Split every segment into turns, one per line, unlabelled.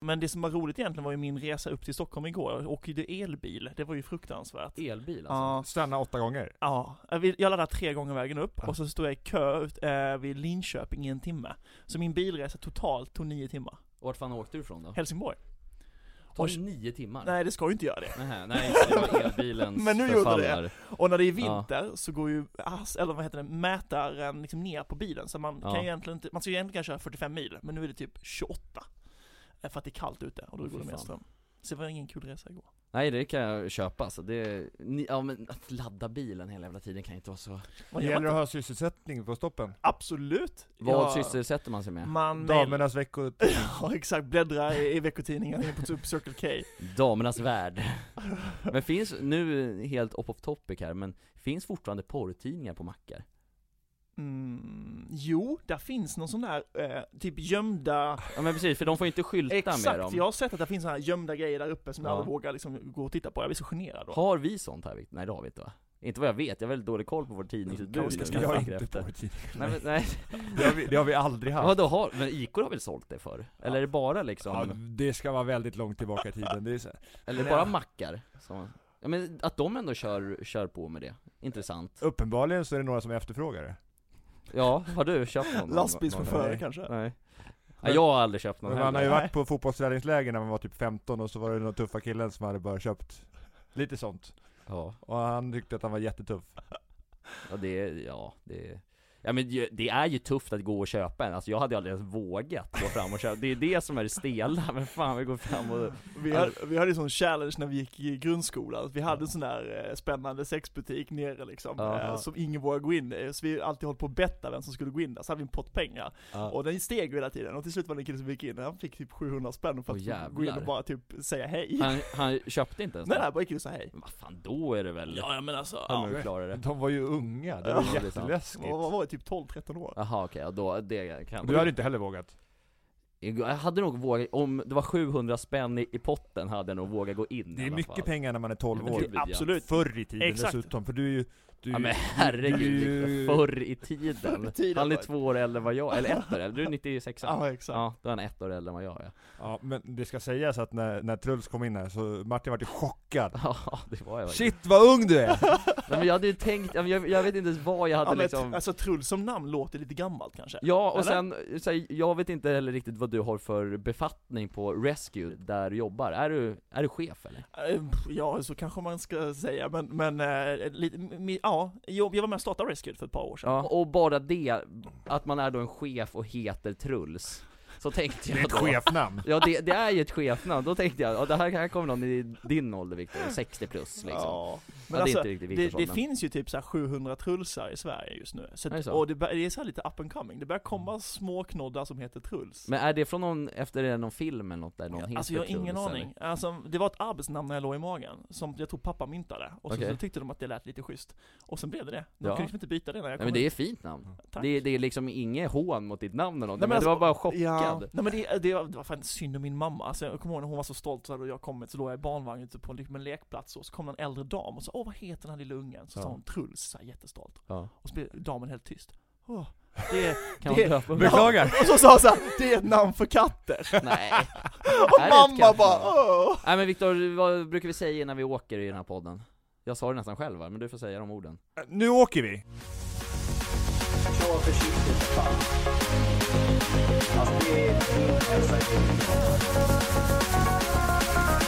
Men det som var roligt egentligen var ju min resa upp till Stockholm igår. Jag åkte ju elbil, det var ju fruktansvärt.
Elbil alltså.
Ja,
Stanna åtta gånger.
Ja, jag vill- jag laddade tre gånger vägen upp
Ja.
och så stod jag i kö ut, eh, vid Linköping i en timme. Så min bilresa totalt tog nio timmar.
Vart fan åkte du ifrån då?
Helsingborg.
Tog
och-
det nio timmar?
Nej, det ska ju inte göra det.
Nähä, nej, just det det var elbilens
Men nu gjorde det.
förfallare.
Och när det är vinter så går ju, ass, eller vad heter det, mätaren liksom ner på bilen. Så man
Ja.
kan ju egentligen inte, man ska ju egentligen köra 45 mil, men nu är det typ 28. Eh, För att det är kallt ute och då
Åh,
går det
fy
mer
fan.
ström. Så det var ingen kul resa igår.
Nej det kan jag köpa så det, ni, ja men att ladda bilen hela jävla tiden kan inte vara så
Vad gör
Gäller
man
det att
inte?
ha sysselsättning på stoppen?
Absolut!
Vad
Ja,
sysselsätter man sig med?
Man mail-
Damernas veckor...
Ja exakt, bläddra i, i veckotidningen inne på typ Circle K.
Damernas värld Men finns, nu helt off of topic här, men finns fortfarande porrtidningar på mackar?
Mm, jo, där finns någon sån där, eh, typ gömda
Ja men precis, för de får ju inte skylta med dem
Exakt, jag har sett att det finns såna här gömda grejer där uppe som
Ja.
jag aldrig vågar liksom gå och titta på, jag blir så generad då.
Har vi sånt här Victor? Nej det har vi inte va? Inte vad jag vet, jag har väldigt dålig koll på vårt tidningsutbud
Kanske ska
nu,
jag
jag
är
tänker
inte
efter.
på tid.
Nej men nej,
Det har vi, det har vi aldrig haft.
vadå har, men IK har väl sålt det för? Eller är det bara liksom,
Ja, det ska vara väldigt långt tillbaka i tiden. Det är så...
eller är det bara mackar? Som, ja men att de ändå kör, kör på med det, intressant
Uppenbarligen så är det några som efterfrågar det.
Ja, har du köpt någon?
Lastbilschaufförer
Nej.
kanske?
Nej Nej, jag har aldrig köpt någon
Men man har ju
heller
varit på fotbollsträningsläger när man var typ 15 och så var det några tuffa killen som hade bara köpt lite sånt.
Ja,
Och han tyckte att han var jättetuff.
ja det, är- ja det är- Ja men ju- det är ju tufft att gå och köpa en, alltså jag hade aldrig ens vågat gå fram och köpa, det är det som är det stela, men fan vi går fram och
Vi, hade, vi hade ju sån challenge när vi gick i grundskolan, vi hade en sån här eh, spännande sexbutik nere liksom,
Ja.
eh, som ingen vågade gå in i, så vi alltid hållit på att betta vem som skulle gå in där, så hade vi en pott pengar.
Ja,
Och den steg ju hela tiden, och till slut var det en kille som gick in, han fick typ 700 spänn för
Åh,
att få gå in
jävlar.
och bara typ säga hej.
han, han köpte inte ens
Nej
den.
nej, bara gick in och sa hej.
Men vad fan då är det väl?
Ja, ja men alltså,
Han
ja.
ja. klarar det
De var ju unga, det
Ja,
var
det är sant.
jätteläskigt.
Vad vad var det, typ 12-13 år?
Jaha okej, ja, då, det kan
Du hade inte heller vågat.
Jag hade nog vågat, om det var 700 spänn i, i potten hade jag nog vågat gå in
Det
i
är
alla
mycket
fall.
pengar när man är 12
Ja, men
år.
det-
Absolut.
Förr i tiden
Exakt.
dessutom, för du är ju... Du,
Ja men
du-
herregud, Victor, förr i tiden.
i tiden,
Han är
va?
två år äldre än vad jag, eller ett år äldre, du är 96
Ja exakt.
Ja, då är han ett år äldre än vad jag är
ja, men det ska sägas att när, när Truls kom in här så Martin vart ju chockad.
Ja, det var jag verkligen.
Shit vad ung du är!
Nej, men jag hade ju tänkt, ja, men jag, jag vet inte ens vad jag hade
ja, men,
liksom
Alltså Truls som namn låter lite gammalt kanske.
Ja, och
Eller?
sen, så här, jag vet inte heller riktigt vad du har för befattning på Rescue, där du jobbar. Är du, är du chef eller?
Eh, Ja, så kanske man ska säga, men, men eh, lite, mi- ja, jo, jag var med och startade Rescue för ett par år sedan.
Ja. Och bara det, att man är då en chef och heter Truls. Så tänkte
Det är
jag
ett
då.
chefnamn.
Ja det, det är ju ett chefnamn, då tänkte jag, ja, det här, här kommer någon i din ålder Viktor, 60 plus liksom. Ja,
Ja.
det
Men
är
alltså,
inte riktigt
det,
Viktors
det
ålder.
finns ju typ så här 700 Trulsar i Sverige just nu. Så
Är det
att,
så?
och det, bör- det är så här lite up and coming, det börjar komma små knoddar som heter Truls.
Men är det från någon, efter någon film eller något där någon heter
Alltså jag har ingen
Truls,
aning.
eller?
Alltså, det var ett arbetsnamn när jag låg i magen, som jag tror pappa myntade. Och så,
Okej.
så tyckte de att det lät lite schysst. Och sen blev det det. De
Ja.
kunde liksom inte byta det när jag
Nej
kom
men det
ut.
är fint namn.
Tack.
Det, det är liksom inget hån mot ditt namn eller något,
Nej,
men,
men alltså-
det var bara chockad.
Ja. Nej men det, det, var, det var fan synd om min mamma, alltså, jag kommer ihåg när hon var så stolt så hade jag kommit, så låg jag i barnvagn ute på en, liksom en lekplats och så kom en äldre dam och sa åh vad heter den här lilla ungen? Så sa
Ja.
hon Truls, så här, jättestolt.
Ja.
Och så blev damen helt tyst. Åh, det är,
Kan
Det-
man döpa mig?
Beklagar!
och så sa hon såhär, det är ett namn för katter!
Nej.
Och
Är det ett
mamma
kattnamn?
bara åh!
Nej men Viktor, vad brukar vi säga innan vi åker i den här podden? Jag sa det nästan själv va? men du får säga de orden.
Nu åker vi!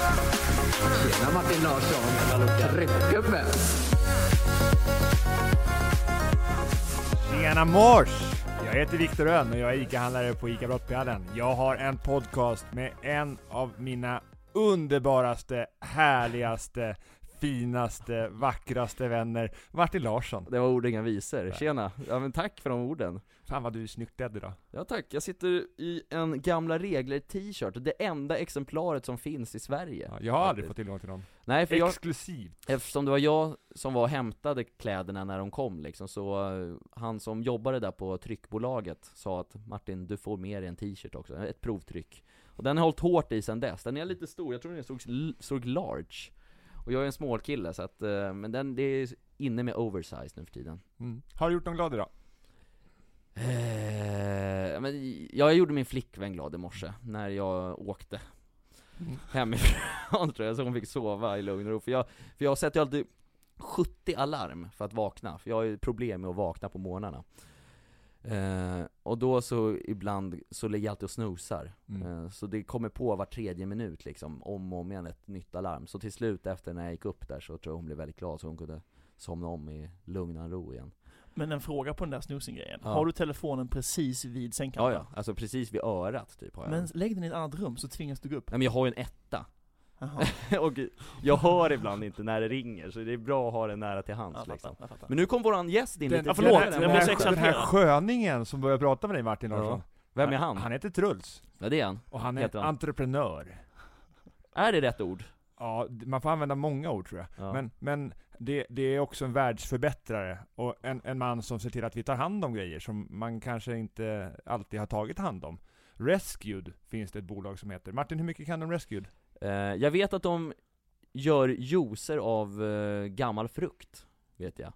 Tjena Martin Larsson, tryckgubbe!
Tjena mors! Jag heter Viktor Öhn och jag är ICA-handlare på ICA Brottbjörnen. Jag har en podcast med en av mina underbaraste, härligaste, finaste, vackraste vänner, Martin Larsson.
Det var ord inga visor, tjena! Ja men tack för de orden.
Fan vad du är snyggt klädd idag.
Ja tack, jag sitter i en Gamla Regler t-shirt, det enda exemplaret som finns i Sverige.
Ja, Jag har aldrig fått
Faktiskt.
tillgång till någon.
Nej för jag,
Exklusivt.
eftersom det var jag som var och hämtade kläderna när de kom liksom, så eh, han som jobbade där på tryckbolaget sa att Martin, du får med dig en t-shirt också, ett provtryck. Och den har hållit hårt i sedan dess, den är lite stor, jag tror den stod, stod large. Och jag är en småkille så att, eh, men den, det är inne med oversize nu för tiden.
Mm. Har du gjort någon glad idag?
Eh, men jag gjorde min flickvän glad i morse när jag åkte
Mm.
hemifrån tror jag, så hon fick sova i lugn och ro. För jag, för jag sätter ju alltid 70 alarm för att vakna, för jag har ju problem med att vakna på morgnarna. Eh, och då så ibland, så ligger jag alltid och snoozar.
Mm.
Eh, Så det kommer på var tredje minut liksom, om och om igen ett nytt alarm. Så till slut efter när jag gick upp där så tror jag hon blev väldigt glad så hon kunde somna om i lugn och ro igen.
Men en fråga på den där snoozing-grejen.
Ja.
Har du telefonen precis vid
Ja,
sängkanten?
ja, alltså precis vid örat typ har jag
Men
den.
lägg den i ett annat rum så tvingas du gå upp.
Nej men jag har ju en etta,
Jaha,
och jag hör ibland inte när det ringer, så det är bra att ha den nära till hands
jag
liksom.
fattar. Jag fattar.
Men nu kom våran gäst in
Den-
lite
ja, förlåt,
tidigare än
jag
vad-
blev så
den, här, den här
exalterad.
sköningen som börjar prata med dig Martin Larsson.
Ja. Vem är han?
Han heter Truls.
Ja det är han.
Och han är
Heter han.
entreprenör.
Är det rätt ord?
Ja, d- man får använda många ord tror jag.
Ja.
Men, men det, det är också en världsförbättrare och en, en man som ser till att vi tar hand om grejer som man kanske inte alltid har tagit hand om. Rescued finns det ett bolag som heter. Martin, hur mycket kan de Rescued?
Eh, jag vet att de gör juicer av eh, gammal frukt, vet jag.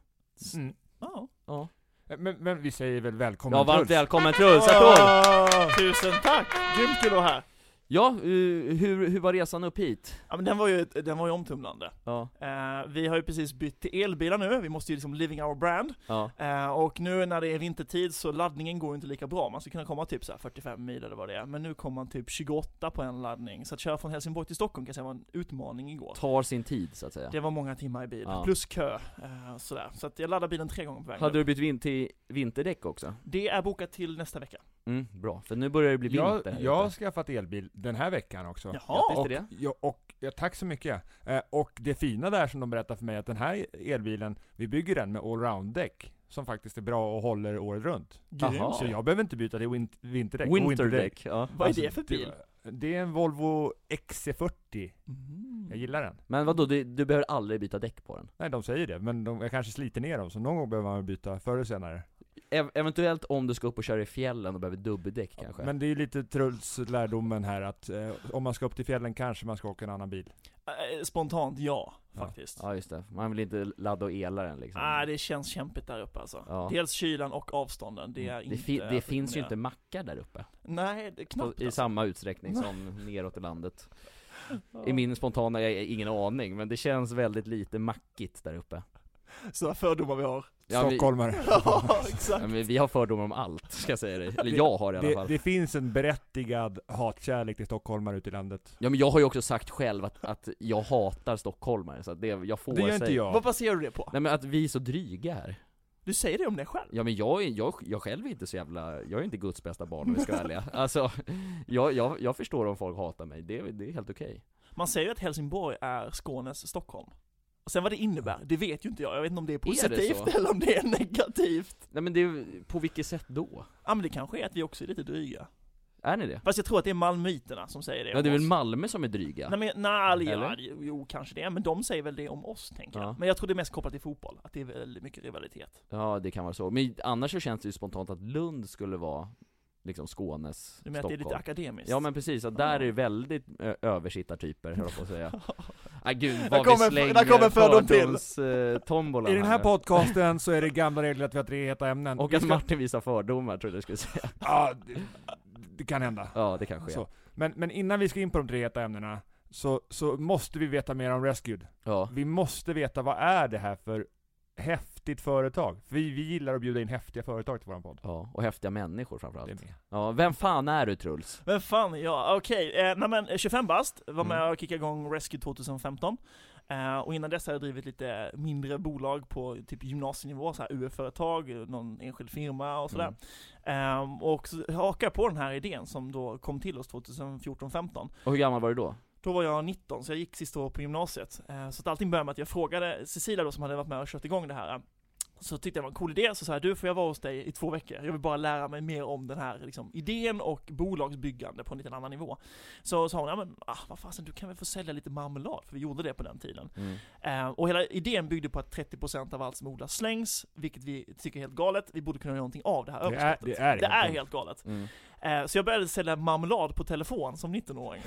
Mm.
Ja.
Ja,
Eh, Men, men vi säger väl välkommen
ja varmt
Truls.
välkommen Truls Axel!
Åh!
Tusen tack! Grymt kul att vara här!
Ja, eh, hur, hur var resan upp hit?
Ja men den var ju, den var ju omtumlande.
Ja,
Eh, vi har ju precis bytt till elbilar nu, vi måste ju liksom living our brand.
ja,
Eh, och nu när det är vintertid så laddningen går ju inte lika bra, man skulle kunna komma typ så här 45 mil eller vad det är. Men nu kom man typ 28 på en laddning, så att köra från Helsingborg till Stockholm kan jag säga var en utmaning igår.
tar sin tid så att säga.
Det var många timmar i bil,
Ja.
plus kö. Eh, sådär. Så att jag laddade bilen tre gånger på vägen
Hade
upp.
du bytt vin till vinterdäck också?
Det är bokat till nästa vecka.
Mm, bra, för nu börjar det bli vinter
Jag,
här
jag har
ute.
skaffat elbil den här veckan också.
Jaha!
Grattis
Och,
till det.
ja, och, ja, tack så mycket. Eh, och det fina där som de berättar för mig, att den här elbilen, vi bygger den med allround-däck, som faktiskt är bra och håller året runt.
Jaha.
Grymt!
Så jag behöver inte byta, det är win- vinterdäck. och vinterdäck.
Winterdäck, ja.
Vad är det
Alltså,
för bil?
Det, det är en Volvo XC40.
Mm.
Jag gillar den.
Men vadå, du, du behöver aldrig byta däck på den?
Nej, de säger det, men de, jag kanske sliter ner dem, så någon gång behöver man byta förr eller senare.
Ev- eventuellt om du ska upp och köra i fjällen och behöver dubbeldäck kanske?
Men det är ju lite Truls lärdomen här att eh, om man ska upp till fjällen kanske man ska åka en annan bil.
Eh, Spontant ja,
Ja.
faktiskt.
Ja just det, man vill inte ladda och ela den liksom
Ah, det känns kämpigt där uppe alltså.
Ja. Mm.
Dels kylan och avstånden, det är
det,
inte
fi- det
att
finns ju
rekommendera.
inte mackar där uppe,
Nej, det är
på,
knappt alltså.
i
alltså.
samma utsträckning som neråt i landet I min spontana, jag har ingen aning, men det känns väldigt lite mackigt där uppe
Sådana fördomar vi har.
ja, vi,
Stockholmare.
ja,
ja,
exakt.
men vi har fördomar om allt, ska jag säga dig, eller jag har i alla
Det,
fall
det finns en berättigad hatkärlek till stockholmare ute i landet.
Ja men jag har ju också sagt själv att, att jag hatar stockholmare, så att det, jag får
Det gör
säga
inte jag.
Vad baserar du det på?
Nej men att vi är så dryga här
Du säger det om dig själv.
Ja men jag, är- jag, jag själv är inte så jävla, jag är inte Guds bästa barn om vi ska vara ärliga. Alltså, jag, jag, jag förstår om folk hatar mig, det, är- det är helt okej.
Man säger ju att Helsingborg är Skånes Stockholm. Och sen vad det innebär, det vet ju inte jag. Jag vet inte om det är positivt
så?
eller om det är negativt.
Nej men det, är- på vilket sätt då?
Ja men det kanske är att vi också är lite dryga.
Är ni det?
Fast jag tror att det är malmöiterna som säger det
Ja det är
om
väl
oss.
Malmö som är dryga?
Nej men, nej, ja,
Eller?
jo kanske det, är, men de säger väl det om oss tänker
Ja.
jag. Men jag tror det är mest kopplat till fotboll, att det är väldigt mycket rivalitet.
Ja det kan vara så, men annars så känns det ju spontant att Lund skulle vara liksom Skånes
Du menar att det är
Stockholm.
lite akademiskt?
Ja men precis, att där
Ja.
är det väldigt ö, översittartyper höll jag på att säga. Nej gud
Där
vad
kommer-
vi slänger
där kommer fördom till.
fördomstombolan
I den här podcasten så är det gamla regler att vi har tre heta ämnen.
Och
Vi
att
ska-
Martin visar fördomar trodde jag skulle säga.
Ja, det, det kan hända.
Ja det kanske är.
Så. Men, men innan vi ska in på de tre heta ämnena, så, så måste vi veta mer om Rescued.
Ja.
Vi måste veta vad är det här för häftigt företag? För vi, vi gillar att bjuda in häftiga företag till våran podd.
Ja, och häftiga människor
Det är
framförallt.
med.
Ja, vem fan är du Truls?
Vem fan, ja okej, eh, nej men eh, 25 bast, var med
Mm.
och kickade igång Rescue 2015 eh, Och innan dess hade jag drivit lite mindre bolag på typ gymnasienivå, så här UF-företag, eh, någon enskild firma och sådär
Mm.
Ehm, Och så hakade jag på den här idén som då kom till oss 2014-15
Och hur gammal var du då?
Då var jag 19, så jag gick sista året på gymnasiet eh, Så att allting började med att jag frågade Cecilia då som hade varit med och kört igång det här eh, så tyckte jag det var en cool idé, så sa jag du får jag vara hos dig i två veckor, jag vill bara lära mig mer om den här liksom, idén och bolagsbyggande på en liten annan nivå. Så sa hon, ja men ah, vad fasen du kan väl få sälja lite marmelad, för vi gjorde det på den tiden. Eh, och hela idén byggde på att 30% av allt som odlas slängs, vilket vi tycker är helt galet, vi borde kunna göra någonting av det här
Det är,
överskottet.
det är
Det är
Mm.
galet.
helt galet. Eh, så jag började sälja marmelad på telefon som 19-åring.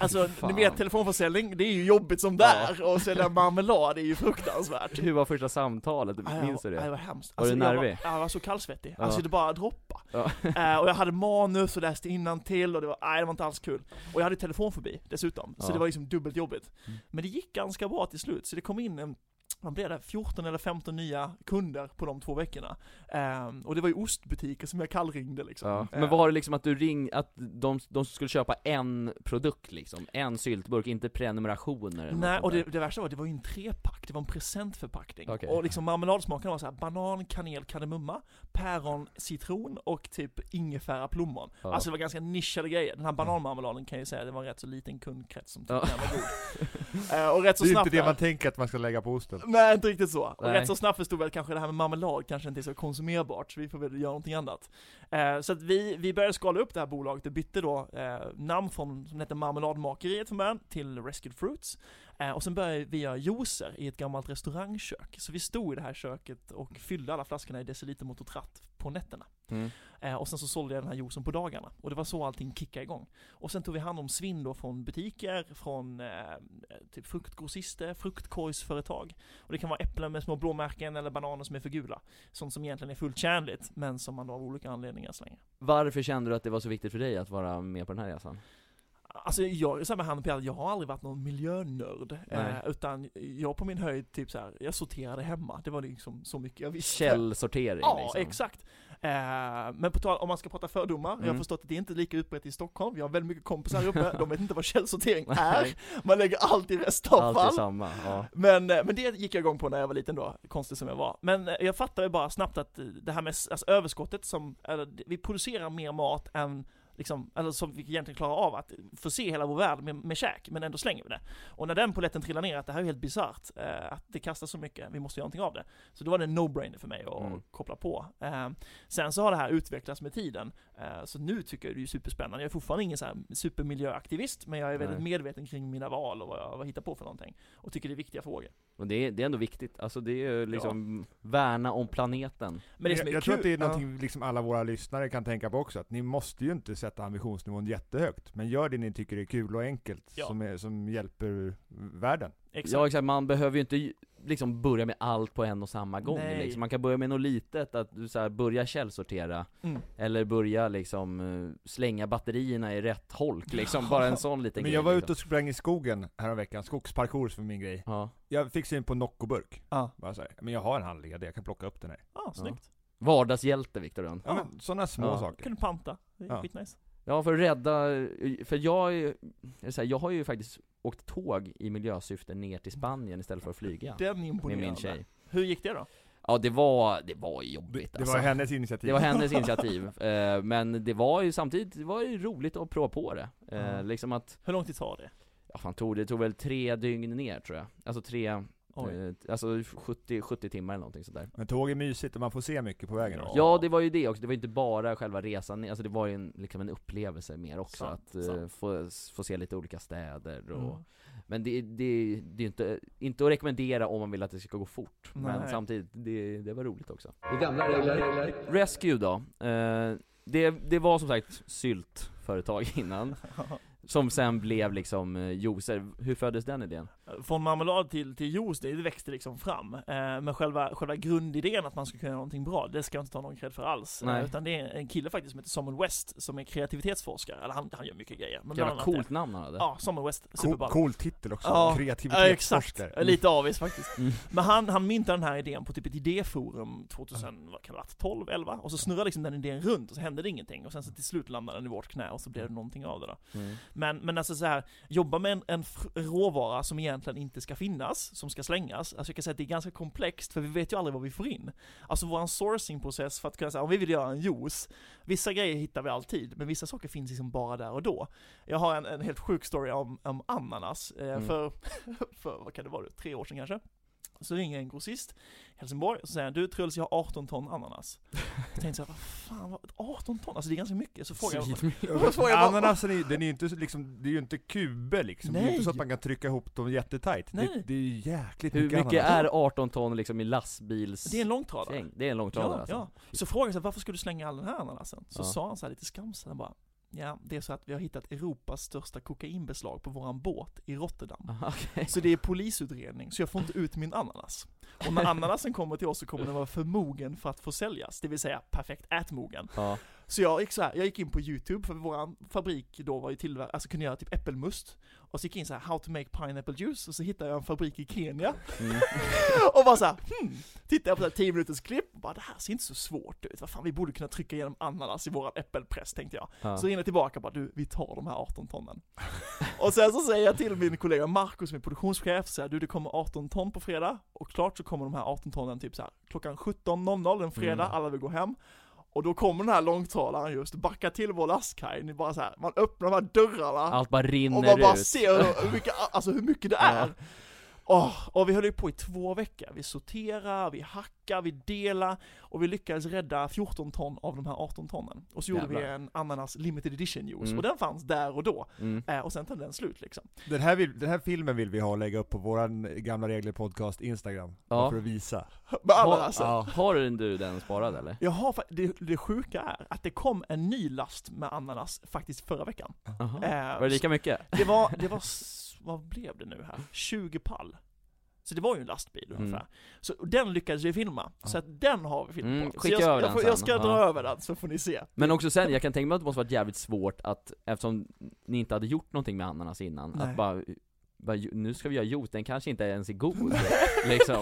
Alltså,
fan.
ni vet telefonförsäljning, det är ju jobbigt som där, och sälja marmelad är ju fruktansvärt.
Hur var första samtalet? Minns du
Ja, Det
det?
var hemskt. Alltså,
Var du
jag
nervig?
Var, jag var så kallsvettig.
Ja.
Alltså det bara droppade.
Ja.
Eh, och jag hade manus och läste innantill och det var, nej det var inte alls kul. Och jag hade telefonfobi dessutom, så
Ja.
det var liksom dubbelt jobbigt.
Mm.
Men det gick ganska bra till slut, så det kom in en man blev det 14 eller 15 nya kunder på de två veckorna. Eh, och det var ju ostbutiker som jag kallringde liksom.
Ja.
Eh,
Men var det liksom att du ring, att de, de skulle köpa en produkt liksom, en syltburk, inte prenumerationer
Eh,
eller
Nej,
något
och det,
sånt
det värsta var att det var ju en trepack, det var en presentförpackning.
Okej.
Och liksom marmeladsmakerna var så här: banan, kanel, kardemumma, päron, citron och typ ingefära, plommon.
Ja.
Alltså det var ganska nischade grejer. Den här bananmarmeladen kan jag ju säga, det var en rätt så liten kundkrets som tyckte
Ja.
den var god. Eh, och rätt så
Det är
snabbt
inte det
där-
man tänker att man ska lägga på osten.
Nej, inte riktigt så. Och
Nej.
rätt så snabbt förstod vi att kanske det här med marmelad kanske inte är så konsumerbart, så vi får väl göra någonting annat. Eh, så att vi, vi började skala upp det här bolaget och bytte då eh, namn från, som hette Marmeladmakeriet från början, till Rescued Fruits. Eh, och sen började vi göra juicer i ett gammalt restaurangkök. Så vi stod i det här köket och fyllde alla flaskorna i deciliter mot och tratt på nätterna.
Mm.
Eh, och sen så sålde jag den här juicen på dagarna. Och det var så allting kickade igång. Och sen tog vi hand om svinn då från butiker, från eh, typ fruktgrossister, fruktkorgsföretag. Och det kan vara äpplen med små blåmärken eller bananer som är för gula. Sånt som egentligen är fullt tjänligt, men som man då av olika anledningar slänger.
Varför kände du att det var så viktigt för dig att vara med på den här resan?
Alltså jag är så här med handen på hjärtat, jag har aldrig varit någon miljönörd.
Nej.
Eh, utan jag på min höjd, typ så här, jag sorterade hemma. Det var liksom så mycket jag visste.
Källsortering
Ja,
liksom.
exakt. Eh, men på tal om man ska prata fördomar, jag
Mm.
har förstått att det inte är lika utbrett i Stockholm, jag har väldigt mycket kompisar här uppe, de vet inte vad källsortering är, man lägger allt i
Allt är
restavfall.
samma, ja.
Men, eh, men det gick jag igång på när jag var liten då, konstigt som jag var. Men eh, jag fattade ju bara snabbt att eh, det här med s- alltså, överskottet som, eller, vi producerar mer mat än Liksom, eller som vi egentligen klarar av att förse hela vår värld med, med käk, men ändå slänger vi det. Och när den poletten trillar ner, att det här är helt bisarrt, eh, att det kastas så mycket, vi måste göra någonting av det. Så då var det en no-brainer för mig att
Mm.
koppla på. Eh, sen så har det här utvecklats med tiden, eh, så nu tycker jag det är superspännande. Jag är fortfarande ingen så här supermiljöaktivist, men jag är väldigt
Nej.
medveten kring mina val och vad jag, vad jag hittar på för någonting. Och tycker det är viktiga frågor.
Och det är, det är ändå viktigt, alltså det är ju liksom, värna om planeten.
Men det som
jag
är kul,
jag tror att det är
ja.
någonting liksom alla våra lyssnare kan tänka på också, att ni måste ju inte sätta ambitionsnivån jättehögt, men gör det ni tycker är kul och enkelt,
Ja.
som, är, som hjälper världen.
Exakt.
Ja exakt, man behöver ju inte ju- liksom börja med allt på en och samma gång
Nej.
liksom. Man kan börja med något litet, att du så här, börja källsortera,
Mm.
eller börja liksom eh, slänga batterierna i rätt holk liksom, bara en sån liten
Men
grej,
jag var ute
liksom.
och sprang i skogen häromveckan, skogsparkour för min grej.
Ja.
Jag fick syn på Noccoburk,
Ja.
bara så här, men jag har en hand ledig, jag kan plocka upp den här.
Ah, snyggt.
Vardagshjälte Viktor Rönn.
Ja, men sådana små
Ja.
Du
saker.
kunde panta. Det är
Ja.
skitnice.
Ja, för att rädda, eh, för jag, är- är så här, jag har ju faktiskt åkt tåg i miljösyfte ner till Spanien istället för att flyga.
Den är
Med
imponerande.
min tjej.
Hur gick det då?
Ja, det var, det var jobbigt
Det
alltså.
var hennes initiativ.
Det var hennes initiativ, eh, men det var ju samtidigt, det var ju roligt att prova på det. Eh,
Ja.
Liksom att,
Hur lång tid tar det?
ja fan tog det, tog väl tre dygn ner tror jag. Alltså tre,
Oj.
eh, alltså 70, 70 timmar eller någonting sådär.
Men tåg är mysigt och man får se mycket på vägen.
Ja.
också.
Ja, det var ju det också. Det var ju inte bara själva resan ner. alltså det var ju en, liksom en upplevelse mer också.
Sant,
att eh,
sant.
få, få se lite olika städer och
Mm.
Men det, det, det är ju inte, inte att rekommendera om man vill att det ska gå fort, men
Nej.
samtidigt, det, det var roligt också.
I gamla regler.
Rescue då, eh, det, det var som sagt syltföretag innan,
Mm.
som sen blev liksom eh, juicer. Hur föddes den idén?
Från marmelad till, till juice, det växte liksom fram. Eh, men själva, själva grundidén att man ska kunna göra någonting bra, det ska jag inte ta någon cred för alls.
Nej.
Eh, utan det är en kille faktiskt som heter Samuel West, som är kreativitetsforskare. Eller han, han gör mycket grejer. Men bland
Jävla
annat
coolt
det.
namn han hade.
Ja, Samuel West,
Cool,
superball.
cool titel också,
Ja. Ja, exakt.
kreativitetsforskare.
Jag är Lite avis faktiskt.
Mm.
Men han, han myntade den här idén på typ ett idéforum 2000, vad kan det ha varit, 12, 11? Och så snurrade liksom den idén runt och så hände det ingenting. Och sen så till slut landade den i vårt knä och så blev det någonting av det då.
Mm.
Men, men alltså så här, jobba med en, en fr- råvara som egentligen inte ska finnas, som ska slängas. Alltså jag kan säga att det är ganska komplext, för vi vet ju aldrig vad vi får in. Alltså våran sourcingprocess för att kunna säga, om vi vill göra en juice, vissa grejer hittar vi alltid, men vissa saker finns liksom bara där och då. Jag har en, en helt sjuk story om, om ananas, eh,
Mm.
för, för, vad kan det vara, då, tre år sedan kanske? Så ringer en grossist i Helsingborg och så säger han, du Truls, jag har 18 ton ananas. Jag tänkte såhär, vad fan, vad- 18 ton? Alltså det är ganska mycket. Så frågar jag, Jag frågar bara-
Ananasen alltså, är, ju- den är ju inte, så liksom, det är ju inte kuber liksom, det är ju inte
Nej.
så att man kan trycka ihop dem jättetajt. Det,
Nej.
det är ju jäkligt
Hur mycket
ananas.
är 18 ton liksom i lastbils...
det är en långtradare.
säng? Det är en långtradare
Ja,
alltså.
ja. Så frågade jag så här, varför skulle du slänga all den här ananasen? Så
Ja.
sa han så här lite skamsen han bara Ja, det är så att vi har hittat Europas största kokainbeslag på våran båt i Rotterdam.
Aha, okej.
Så det är polisutredning, så jag får inte ut min ananas. Och när ananasen kommer till oss så kommer den vara för mogen för att få säljas, det vill säga perfekt ätmogen.
Ja,
Så jag gick så här, jag gick in på YouTube, för våran fabrik då var ju tillverkad, alltså kunde göra typ äppelmust. Och så gick jag in så här, how to make pineapple juice, och så hittade jag en fabrik i Kenya.
mm.
Och bara såhär, hmm, tittade jag på det här 10 minuters klipp och bara det här ser inte så svårt ut, vad fan vi borde kunna trycka igenom ananas i våran äppelpress tänkte jag.
ja.
Så ringde jag tillbaka och bara du, vi tar de här 18 tonnen. och sen så säger jag till min kollega Markus som är produktionschef, så här, du det kommer 18 ton på fredag och klart så kommer de här 18 tonnen typ så här, klockan 17.00 en fredag,
Mm.
alla vill gå hem. Och då kommer den här långtalaren just, backar till vår lastkaj, ni bara så här, man öppnar de här dörrarna.
Allt bara rinner
Och man bara
ut.
ser hur- hur mycket, alltså hur mycket det
Ja.
är. Åh, och vi höll ju på i två veckor. Vi sorterar, vi hackar, vi delar och vi lyckades rädda 14 ton av de här 18 tonnen. Och så gjorde vi
Jävlar.
en ananas limited edition juice
Mm.
och den fanns där och då.
Mm.
Eh, och sen tog den slut liksom.
Den här, vill, den här filmen vill vi ha och lägga upp på våran gamla regler podcast Instagram,
Ja.
för att visa.
Men
Ha-
ananasen.
Ja.
Har du den sparad eller?
Jaha, fa- det, det sjuka är att det kom en ny last med ananas faktiskt förra veckan.
Aha.
Eh,
Var det lika mycket?
Det var, det var, s- vad blev det nu här? 20 pall. Så det var ju en lastbil
Mm.
ungefär. Så och den lyckades vi filma, så att den har vi filmat
Mm,
på. Så
skicka
jag, ska-
över
jag,
den
får, jag
sen.
ska dra
Ja.
över den så får ni se.
Men också sen, jag kan tänka mig att det måste varit jävligt svårt att, eftersom ni inte hade gjort någonting med ananas innan,
Nej.
att bara, bara ju- nu ska vi göra juice, den kanske inte ens är god liksom.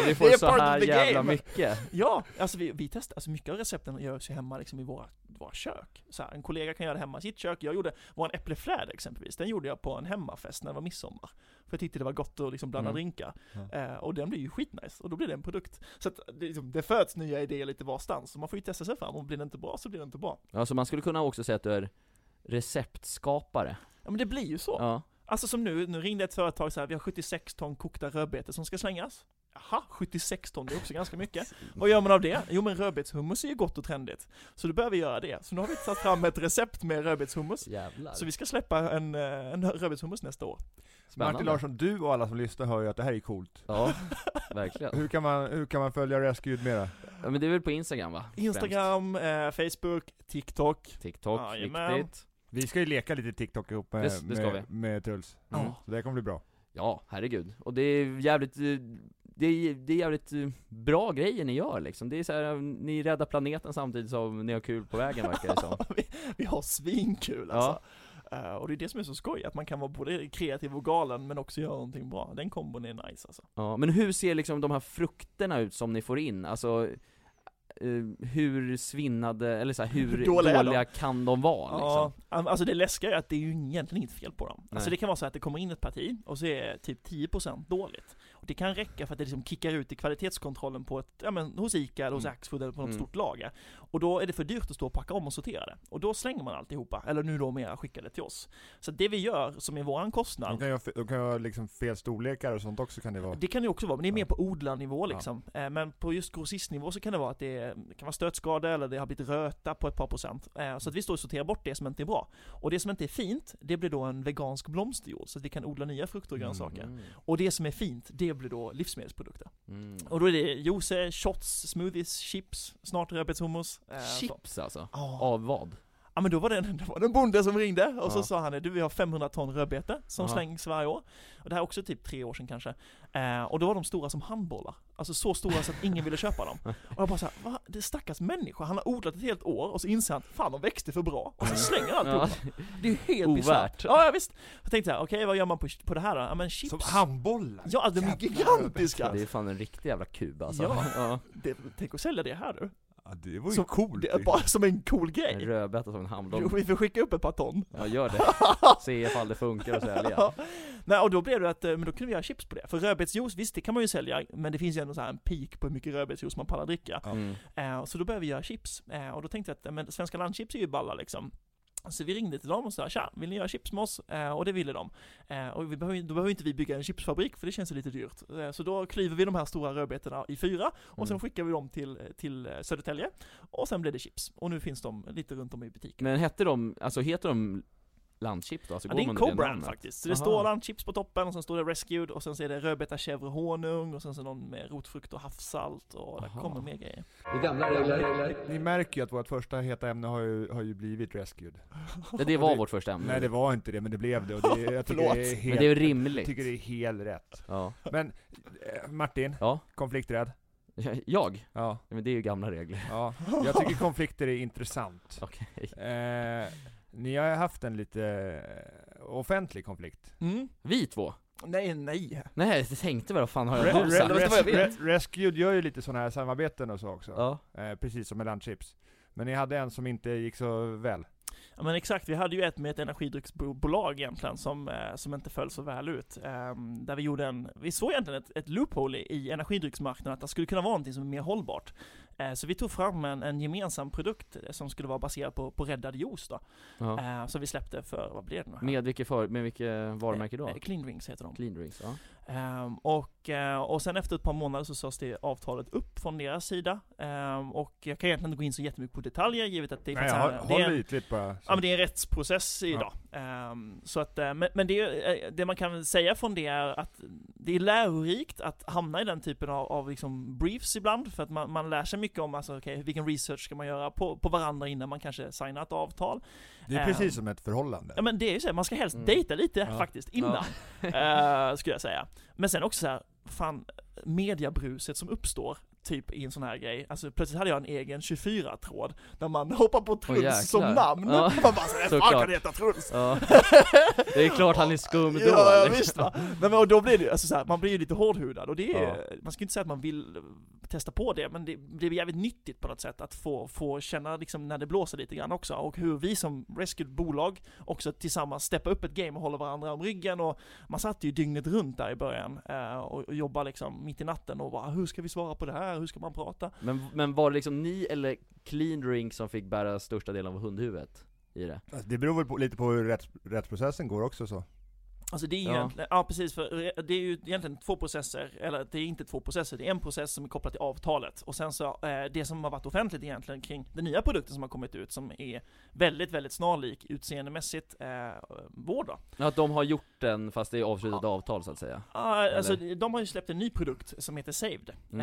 Och vi får
Det är
så
part of
här
the
jävla
game.
mycket.
Ja, alltså vi, vi testar, alltså mycket av recepten görs ju hemma liksom i våra, våra kök. Så här, en kollega kan göra det hemma i sitt kök. Jag gjorde, vår äpplefläder exempelvis, den gjorde jag på en hemmafest när det var midsommar. För jag tyckte det var gott att liksom blanda
Mm.
drinkar.
Ja.
Eh, och den blir ju skitnice, och då blir det en produkt. Så att det, liksom, det föds nya idéer lite varstans, så man får ju testa sig fram, och blir det inte bra så blir det inte bra.
Ja, så man skulle kunna också säga att du är receptskapare.
Ja men det blir ju så.
Ja.
Alltså som nu, nu ringde ett företag så här, vi har 76 ton kokta rödbetor som ska slängas. Jaha, 76 ton, det är också ganska mycket. Vad gör man av det? Jo men rödbetshummus är ju gott och trendigt. Så då börjar vi göra det. Så nu har vi tagit fram ett recept med rödbetshummus.
Jävlar.
Så vi ska släppa en, eh, en rödbetshummus nästa år.
Spännande.
Martin Larsson, du och alla som lyssnar hör ju att det här är coolt.
Ja, verkligen.
Hur kan man, hur kan man följa Rescued mera?
Ja, men det är väl på Instagram va?
Instagram, eh, Facebook, TikTok.
Främst. TikTok,
Jajamän.
viktigt.
Vi ska ju leka lite TikTok ihop med,
Det s- det ska
med, med Truls.
Mm.
Ja.
Så det här kommer bli bra.
Ja, herregud. Och det är jävligt, eh, det är, det är jävligt eh, bra grejer ni gör liksom. Det är så här, ni räddar planeten samtidigt som ni har kul på vägen verkar det som.
vi, vi har svinkul alltså. Eh, och det är det som är så skoj, att man kan vara både kreativ och galen men också göra någonting bra. Den kombon är nice alltså.
Ja, men hur ser liksom de här frukterna ut som ni får in? Alltså, eh, hur svinnade, eller så här, hur
Dåliga
dåliga,
är de.
kan de vara
Ja,
liksom?
alltså det läskiga är att det är ju egentligen inget fel på dem. Alltså
Nej.
det kan vara så att det kommer in ett parti och så är typ 10% dåligt. Och det kan räcka för att det liksom kickar ut i kvalitetskontrollen på ett, ja men hos ICA eller hos
Mm.
Axfood eller på något
Mm.
stort lager. Och då är det för dyrt att stå och packa om och sortera det. Och då slänger man alltihopa, eller nu då mera skickar det till oss. Så det vi gör, som är våran
De
kostnad,
kan ju ha, fe- de kan ju ha liksom fel storlekar och sånt också kan det vara.
det kan det också vara, men det är mer
Ja.
på odlarnivå liksom. Eh, Men på just grossistnivå så kan det vara att det, är, det kan vara stötskada eller det har blivit röta på ett par procent. Eh, Så att vi står och sorterar bort det som inte är bra. Och det som inte är fint, det blir då en vegansk blomsterjord så att vi kan odla nya frukter och
Mm.
grönsaker.
Mm.
Och det som är fint, det blir då livsmedelsprodukter.
Mm.
Och då är det juice, shots, smoothies, chips, snart rödbetshummus. eh, så.
Chips alltså?
Ja.
Av vad?
Ja men då var det en, det var en bonde som ringde och så
Ja.
sa han du vi har 500 ton rödbete som
Ja.
slängs varje år. Och det här är också typ tre år sedan kanske. Eh, och då var de stora som handbollar. Alltså så stora så att ingen ville köpa dem. Och jag bara såhär, va? Det är stackars människa. Han har odlat ett helt år och så inser han, fan de växte för bra. Och så slänger han
Ja.
alltihop. Det är ju helt
Ovärt.
bisarrt. Ja, ja visst. Jag tänkte jag, okej vad gör man på, på det här då? Ja men chips.
Som handbollar!
Ja alltså, de är
Jävlar,
gigantiska!
Det är fan en riktig jävla kub alltså.
Ja.
ja.
Det, tänk att sälja det här du.
Ja, det var ju
Som-
coolt
Det
ju.
är bara som en cool
En
grej.
rödbeta som en hamndom.
Vi får skicka upp ett par ton.
Ja, gör det. Se ifall det funkar att sälja.
Ja. Nej, och då blev det att, eh, men då kunde vi göra chips på det. För rödbetsjuice, visst det kan man ju sälja, men det finns ju ändå så här en peak på hur mycket rödbetsjuice man pallar dricka.
Ja.
Mm.
Eh, så då började vi göra chips. Eh, och då tänkte jag att, eh, men svenska landchips är ju balla liksom. Så vi ringde till dem och sa tja, vill ni göra chips med oss? Eh, och det ville de. Eh, och vi behöver, ju- då behöver ju inte vi bygga en chipsfabrik för det känns ju lite dyrt. Eh, så då klyver vi de här stora rödbetorna i fyra och sen
Mm.
skickar vi dem till, till eh, Södertälje. Och sen blev det chips. Och nu finns de lite runt om i butiken.
Men hette de, alltså heter de Landchip då? Alltså
Ja,
går
det är en
man under
co-brand
namnet?
faktiskt. Så det
Aha.
står landchips på toppen, och sen står det Rescued, och sen så är det rödbeta, chèvre, honung, och sen så någon med rotfrukt och havssalt, och där
Aha.
kommer mer grejer.
Det är gamla regler.
Ni märker ju att vårt första heta ämne har ju, har ju blivit Rescued.
Mm. Ja, det var vårt första ämne.
Nej det var inte det, men det blev det. Och det jag tycker
Förlåt.
det är
Men det är
helt, jag
rimligt.
tycker det är helt rätt.
Ja.
Men eh, Martin,
Ja.
konflikträdd?
Jag?
Ja.
Men det är ju gamla regler.
ja. Jag tycker konflikter är intressant.
Okej.
Eh, ni har ju haft en lite eh, offentlig konflikt.
Mm.
Vi två?
Nej, nej.
Nej, jag tänkte väl, vad fan har
Re-
jag
re-
sagt? Det var vad jag
res-
vet.
re- Rescued gör ju lite sådana här samarbeten och så också.
Ja.
Eh, precis som med Landchips. Men ni hade en som inte gick så väl.
Ja men exakt, vi hade ju ett med ett energidrycksbolag egentligen som, eh, som inte föll så väl ut. Ehm, där vi gjorde en, vi såg egentligen ett, ett loophole i, i energidrycksmarknaden, att det skulle kunna vara någonting som är mer hållbart. Eh, så vi tog fram en, en gemensam produkt som skulle vara baserad på, på räddad juice då.
ja.
Eh, som vi släppte för, vad blir det nu? här?
Med vilket för, med vilket varumärke då?
Eh, Clean Drinks heter de.
Clean Drinks, ja.
Ehm, och, eh, och sen efter ett par månader så sades det avtalet upp från deras sida. Ehm, och jag kan egentligen inte gå in så jättemycket på detaljer givet att det är
Nej,
faktiskt här-
håll,
det är
håll
en-
ytligt bara.
Ja men det är en rättsprocess
Ja.
idag. Ehm, så att, eh, men men det, är- eh, det man kan säga från det är att det är lärorikt att hamna i den typen av, av liksom briefs ibland, för att man, man lär sig mycket om alltså, okay, vilken research ska man göra på, på varandra innan man kanske signar ett avtal.
Det är
Ehm,
precis som ett förhållande.
Ja men det är ju så, här, man ska helst
Mm.
dejta lite
Ja.
faktiskt innan, eh, skulle jag säga. Men sen också så här, fan, mediabruset som uppstår typ i en sån här grej, alltså plötsligt hade jag en egen 24-tråd där man hoppar på Truls
jäklar.
som namn.
Ja.
Man bara såhär, fan
Såklart.
kan det heta Truls?
ja. Det är klart han är skum då.
Ja, ja
liksom.
visst va. Nej, men och då blir det ju, alltså såhär, man blir ju lite hårdhudad och det är ju- man ska ju inte säga att man vill eh, testa på det, men det, det är jävligt nyttigt på något sätt att få, få känna liksom när det blåser lite grann också, och hur vi som rescued bolag också tillsammans steppar upp ett game och håller varandra om ryggen och man satt ju dygnet runt där i början eh, och, och jobbade liksom mitt i natten och bara hur ska vi svara på det här, hur ska man prata?
Men, men var det liksom ni eller Clean Drinks som fick bära största delen av hundhuvudet i det?
Alltså, Det beror väl på, lite på hur rätts, rättsprocessen går också så.
Alltså det är ju
Ja.
egentligen, ja precis, för re- det är ju egentligen två processer, eller det är inte två processer, det är en process som är kopplad till avtalet. Och sen så, eh, det som har varit offentligt egentligen kring den nya produkten som har kommit ut, som är väldigt, väldigt snarlik utseendemässigt eh, vår då.
Ja, Att de har gjort den fast det är avslutat avtal så att säga.
Ja, alltså, de har ju släppt en ny produkt som heter Saved,
Mm.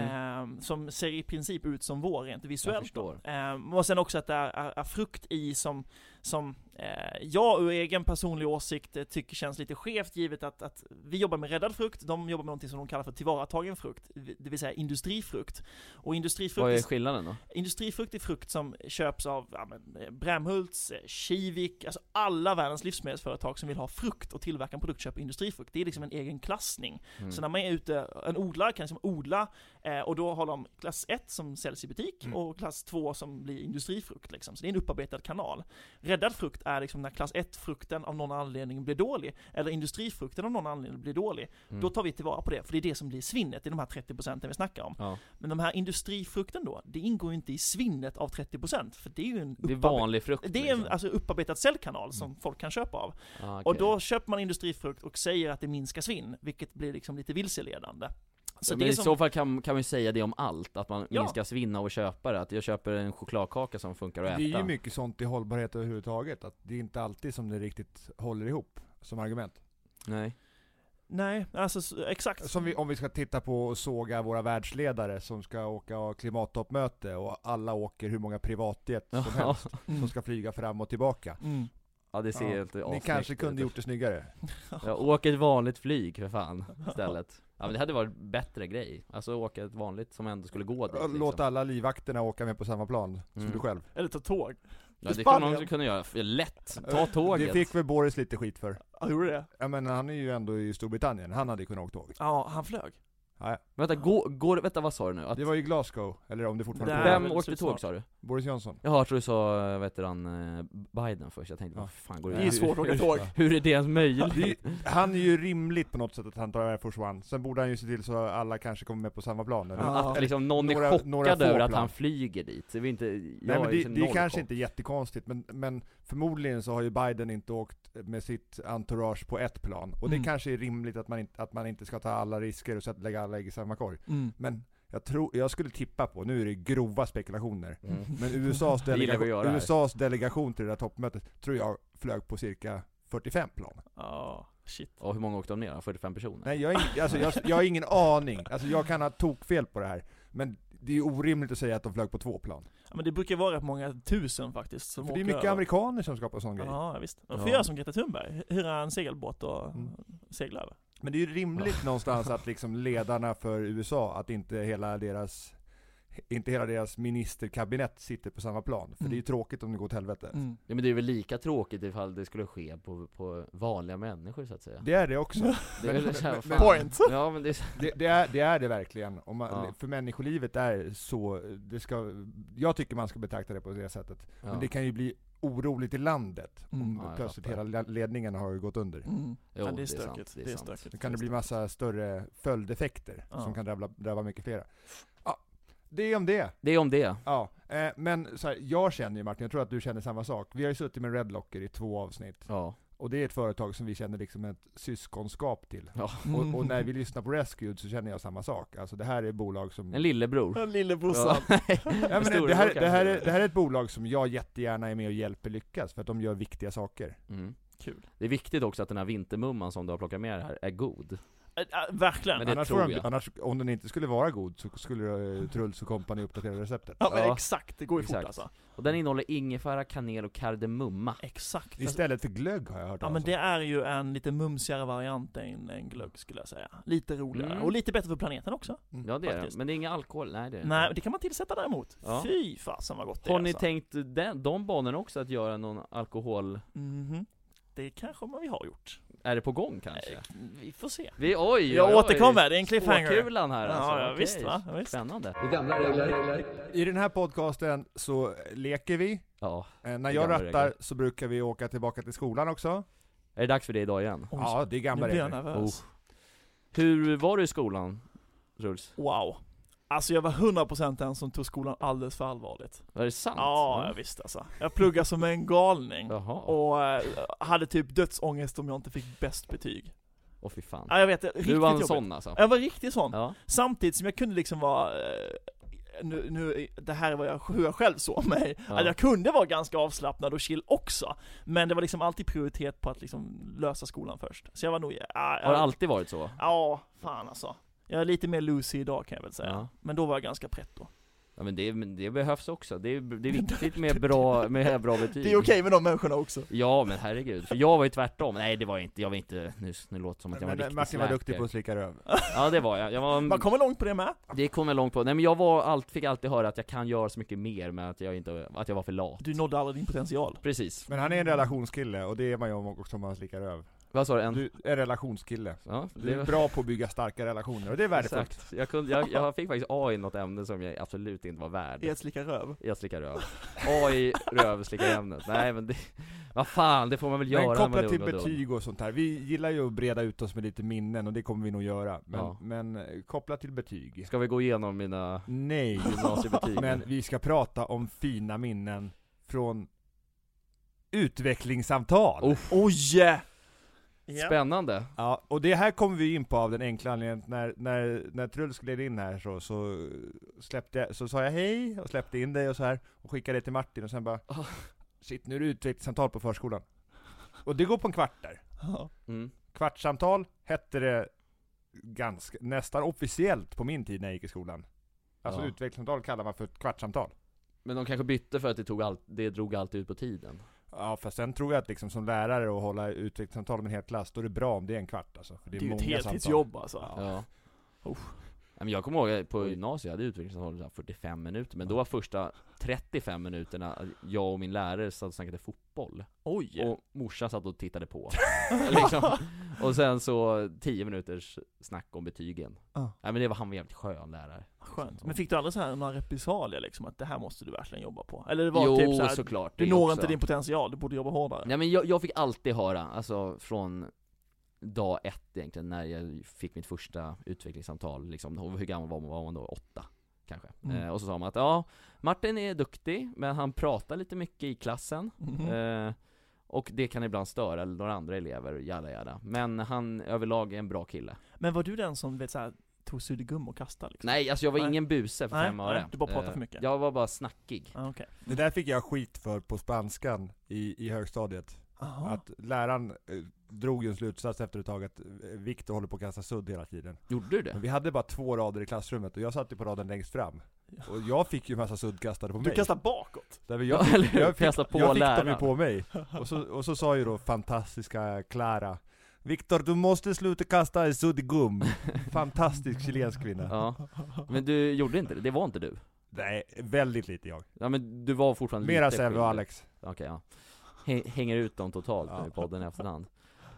eh, som ser i princip ut som vår rent
Jag
visuellt.
förstår.
Eh, och sen också att det är, är, är frukt i som, som eh, jag ur egen personlig åsikt eh, tycker känns lite skevt givet att, att vi jobbar med räddad frukt, de jobbar med någonting som de kallar för tillvaratagen frukt, det vill säga industrifrukt. Och industrifrukt
Vad
är
är skillnaden då?
Industrifrukt är frukt som köps av ja, men, eh, Brämhults, eh, Kivik, alltså alla världens livsmedelsföretag som vill ha frukt och tillverka en produkt köper industrifrukt. Det är liksom en egen klassning.
Mm.
Så när man är ute, en odlare kan liksom odla, eh, och då har de klass 1 som säljs i butik
Mm.
och klass 2 som blir industrifrukt. Liksom. Så det är en upparbetad kanal. Räddad frukt är liksom när klass 1-frukten av någon anledning blir dålig, eller industrifrukten av någon anledning blir dålig.
Mm.
Då tar vi tillvara på det, för det är det som blir svinnet, det är de här 30% vi snackar om.
Ja.
Men de här industrifrukten då, det ingår ju inte i svinnet av 30% för det är ju en,
Det är
upparbe-
vanlig frukt
det är en
liksom. Mm.
alltså, upparbetad cellkanal som folk kan köpa av.
ah,
Och då köper man industrifrukt och säger att det minskar svinn, vilket blir liksom lite vilseledande.
så
Så
Men
det är
i
som,
så fall kan, kan man ju säga det om allt, att man
Ja.
minskar svinna och köpa det, att jag köper en chokladkaka som funkar att äta
Det är ju mycket sånt i hållbarhet överhuvudtaget, att det är inte alltid som det riktigt håller ihop som argument.
Nej,
nej, alltså s- exakt.
Som vi, om vi ska titta på och såga våra världsledare som ska åka och ha klimattoppmöte och alla åker hur många privatjet som
ja,
helst som ska flyga fram och tillbaka.
Mm.
ja det ser
Ja.
helt
Ni
avsnyggt
kanske kunde
ut.
gjort det snyggare.
Ja, åk ett vanligt flyg för fan, istället. Ja men det hade varit bättre grej, alltså åka ett vanligt som ändå skulle gå dit liksom.
Låt alla livvakterna åka med på samma plan som
Mm.
du själv.
Eller ta tåg.
Ja det
till
skulle
Spanien.
man också kunna göra, Ja, lätt! Ta tåget!
Det fick väl Boris lite skit för.
Ja, gjorde det?
Ja men han är ju ändå i Storbritannien, han hade ju kunnat åka tåg.
Ja, han flög.
Vänta, gå, går, vänta vad sa du nu? Att,
Det var ju Glasgow, eller om det fortfarande
Där.
är
vem
väl
åkte
så
tåg
snart.
sa du?
Boris Johnson.
Jaha, jag tror du sa, vet du han, eh, Biden först, jag tänkte
Ja.
vad fan går
Det
det
är ju svårt att åka tåg.
Hur är det ens möjligt?
Det är ju- han är ju rimligt på något sätt att han tar Air Force One, sen borde han ju se till så att alla kanske kommer med på samma plan. Eller?
Ja.
Att liksom någon
Några-
är chockad
några få
över att
plan.
han flyger dit, det är väl inte, jag
Nej men
är
det,
liksom
det är
noll
kanske
chock.
inte jättekonstigt, men, men förmodligen så har ju Biden inte åkt med sitt entourage på ett plan. Och det
Mm.
kanske är rimligt att man, inte, att man inte ska ta alla risker och så att lägga alla ägg i samma korg.
Mm.
Men jag, tror, jag skulle tippa på, nu är det grova spekulationer,
Mm.
men USAs
Det gillar vi att
delegation,
göra här.
USAs delegation till det där toppmötet tror jag flög på cirka 45 plan.
Ja, shit.
Och hur många åkte de ner då? 45 personer?
Nej, jag, har ing- alltså, jag, jag har ingen aning. Alltså, jag kan ha tokfel på det här. Men det är ju orimligt att säga att de flög på två plan.
Ja, men det brukar vara rätt många tusen faktiskt som
För det är
åker
mycket
över.
amerikaner som skapar sån grej.
Ja, visst. Man får
Ja.
göra som Greta Thunberg, hyra en segelbåt och
Mm.
segla över.
Men det är ju rimligt någonstans att liksom ledarna för USA, att inte hela deras inte hela deras ministerkabinett sitter på samma plan. För
Mm.
det är ju tråkigt om det går åt helvete.
Ja, men det är väl lika tråkigt ifall det skulle ske på, på vanliga människor så att säga.
Det är det också.
Det är väl så här, vad
Men-
fan.
Point!
Ja men det är så-
Det, det, är, det är det verkligen. Om man,
Ja.
För människolivet är så, det ska, jag tycker man ska betrakta det på det sättet.
ja.
Men det kan ju bli oroligt i landet
Mm.
om
Ja, jag
plötsligt
fattar.
hela la- ledningen har gått under.
Mm.
Jo,
ja, det är
sant,
stökigt. Det är
sant.
Då
stökigt.
kan det bli massa större följdeffekter
Ja.
som kan drabba, drabba mycket flera. Ja, det är om det.
Det är om det.
Ja, eh, men så här, jag känner ju Martin, jag tror att du känner samma sak. Vi har ju suttit med Redlocker i två avsnitt.
Ja.
Och det är ett företag som vi känner liksom ett syskonskap till.
ja.
Och, och när vi lyssnar på Rescued så känner jag samma sak. Alltså det här är bolag som...
En lillebror.
Mm. Lillebrorsan.
Ja, men det,
Storebror
det, här, det,
kanske.
här är, det här är ett bolag som jag jättegärna är med och hjälper lyckas, för att de gör viktiga saker.
Mm.
Kul.
Det är viktigt också att den här vintermumman som du har plockat med dig här är god.
Äh, äh, verkligen.
Men det
annars,
tror
får de-
jag.
annars, om den inte skulle vara god så skulle eh, Truls och kompani uppdatera receptet.
ja, men
Ja.
exakt. Det går ju fort
Exakt.
alltså.
Och den innehåller ingefära, kanel och kardemumma.
Exakt. Alltså,
Istället för glögg har jag hört
ja,
talas
men
om.
Alltså.
det är ju en lite mumsigare variant än en glögg skulle jag säga. Lite roligare.
Mm.
Och lite bättre för planeten också.
Ja det är det.
Faktiskt.
Men det är ingen alkohol, nej det är det
Nej,
inte.
det kan man tillsätta däremot.
Ja.
Fy fasen vad gott det
Har
är
ni
alltså.
tänkt den, de banorna också, att göra någon alkohol?
Mhm. Det kanske man vi har gjort. Eh,
Är det på gång kanske?
Vi får se.
Vi, oj,
Jag
oj, oj.
återkommer, det är en cliffhanger.
Spåkulan här
Ja,
alltså.
ja,
Okej.
visst, va? Ja, visst.
Spännande.
Det är gamla regler.
I den här podcasten så leker vi.
Ja.
Eh, när
Det
jag
gamla
rattar
regler.
så brukar vi åka tillbaka till skolan också.
Är det dags för det idag igen?
Oj,
ja, det är
nu
gamla
blir jag
regler.
nervös.
Hur var du i skolan, Truls?
Wow. Alltså jag var 100% den som tog skolan alldeles för allvarligt.
Var det sant?
Ja, jag visst alltså. Jag pluggade som en galning.
Jaha. Åh
Och eh, hade typ dödsångest om jag inte fick bäst betyg.
fy fan.
Ja, jag vet, det är riktigt
Du var en
jobbigt.
sån alltså?
Jag var riktigt sån.
Ja.
Samtidigt som jag kunde liksom vara, eh, nu, nu, det här är vad jag, hur jag själv såg mig.
Ja.
Alltså jag kunde vara ganska avslappnad och chill också. Men det var liksom alltid prioritet på att liksom lösa skolan först. Så jag var nog, ah, ja,
Har det
jag,
alltid varit så?
ja fan alltså. Jag är lite mer Lucy idag kan jag väl säga.
Ja.
Men då var jag ganska pretto.
Ja men det, men det behövs också, det är, det är viktigt med bra, med bra betyg
Det är okej med de människorna också.
Ja men herregud, för jag var ju tvärtom, nej det var jag inte, jag var inte, nu, nu låter det som att jag var
Men,
en
men
riktig
Martin var
slacker.
duktig på att slicka röv.
Ja det var jag, jag var,
Man kommer långt på det med.
det kom jag långt på, nej men jag var, allt, fick alltid höra att jag kan göra så mycket mer men att jag inte, att jag var för lat
Du nådde aldrig din potential.
Precis,
Men han är en relationskille och det är man ju också om man slickar röv.
vad sa du? En,
Du är en relationskille.
ja,
Du
Mm. det
är
var,
bra på att bygga starka relationer och det är värdefullt.
exakt, jag, kunde, jag, jag fick faktiskt A i något ämne som jag absolut inte var värd
Ett slicka röv.
Jag slickar röv, A i röv slickar ämnet, nej men det, vad fan det får man väl göra
Men
när man är
kopplat till
ung och dum.
betyg och sånt här, vi gillar ju att breda ut oss med lite minnen och det kommer vi nog göra. Men,
Ja.
men eh, kopplat till betyg.
Ska vi gå igenom mina
Nej.
gymnasiebetyg?
Men vi ska prata om fina minnen från utvecklingssamtal.
Oh.
Oj!
Spännande!
Ja, och det här kommer vi in på av den enkla anledningen att när, när, när Truls gled in här så, så släppte jag, så sa jag hej och släppte in dig och så här och skickade det till Martin och sen bara
Ah.
Shit, nu är det utvecklingssamtal på förskolan. Och det går på en kvart där.
Ja.
Mm.
Kvartssamtal hette det ganska, nästan officiellt på min tid när jag gick i skolan. Alltså
Ja.
utvecklingssamtal kallar man för ett kvartssamtal.
Men de kanske bytte för att det, tog allt, det drog allt ut på tiden
Ja, fast sen tror jag att liksom som lärare och hålla utvecklingssamtal med en hel klass, då är det bra om det är en kvart alltså. För
Det
det
är
är,
ju ett
många samtal.
heltidsjobb alltså.
Ja,
Ja.
Uff.
Nej, men jag kommer ihåg att på
Oj.
gymnasiet, jag hade utvecklingssamtal så här 45 minuter Men då var första 35 minuterna att jag och min lärare satt och snackade fotboll
Oj!
Och morsan satt och tittade på liksom. Och sen så 10 minuters snack om betygen
Ja.
Nej men det var, han var en jävligt skön lärare
Skönt. Men fick du aldrig så här några repressalier liksom, att det här måste du verkligen jobba på? Eller det var
Jo
typ så här,
såklart
du
det
når
också.
inte din potential, du borde jobba hårdare.
Nej men jag, jag fick alltid höra, alltså från dag ett egentligen, när jag fick mitt första utvecklingssamtal liksom, och hur gammal var man, var man då? Åtta? Kanske.
Mm.
Eh, och så sa man att ja, Martin är duktig, men han pratar lite mycket i klassen,
Mhm.
eh, och det kan ibland störa några andra elever, jada jada. Men han överlag är en bra kille.
Men var du den som vet, så här, tog suddgum och kastade? Liksom?
Nej, alltså jag var
Nej.
ingen buse för
Nej,
fem
nej,
öre.
du bara pratar för mycket.
Jag var bara snackig.
Ah, okej.
Det där fick jag skit för på spanskan i, i högstadiet.
Aha.
Att läraren eh, drog ju en slutsats efter ett tag att eh, Viktor håller på att kasta sudd hela tiden.
Gjorde du
Men
det?
vi hade bara två rader i klassrummet och jag satt ju på raden längst fram. Och jag fick ju en massa sudd kastade på
Du
mig.
kastar bakåt?
Nej, men
Ja,
jag fick,
eller hur?
jag fick,
Kasta på
jag fick dem ju
läraren.
på mig. Och så, och så sa ju då fantastiska Klara Viktor, du måste sluta kasta sudd i gum.
Mm.
Fantastisk chilensk kvinna.
Ja. Men du gjorde inte det? Det var inte du?
Nej, väldigt lite jag.
Ja men du var fortfarande
Mera
lite
Säve och
skyldig.
Alex.
Okej, ja. Häng- Hänger ut dem totalt nu
Ja.
i podden i efterhand.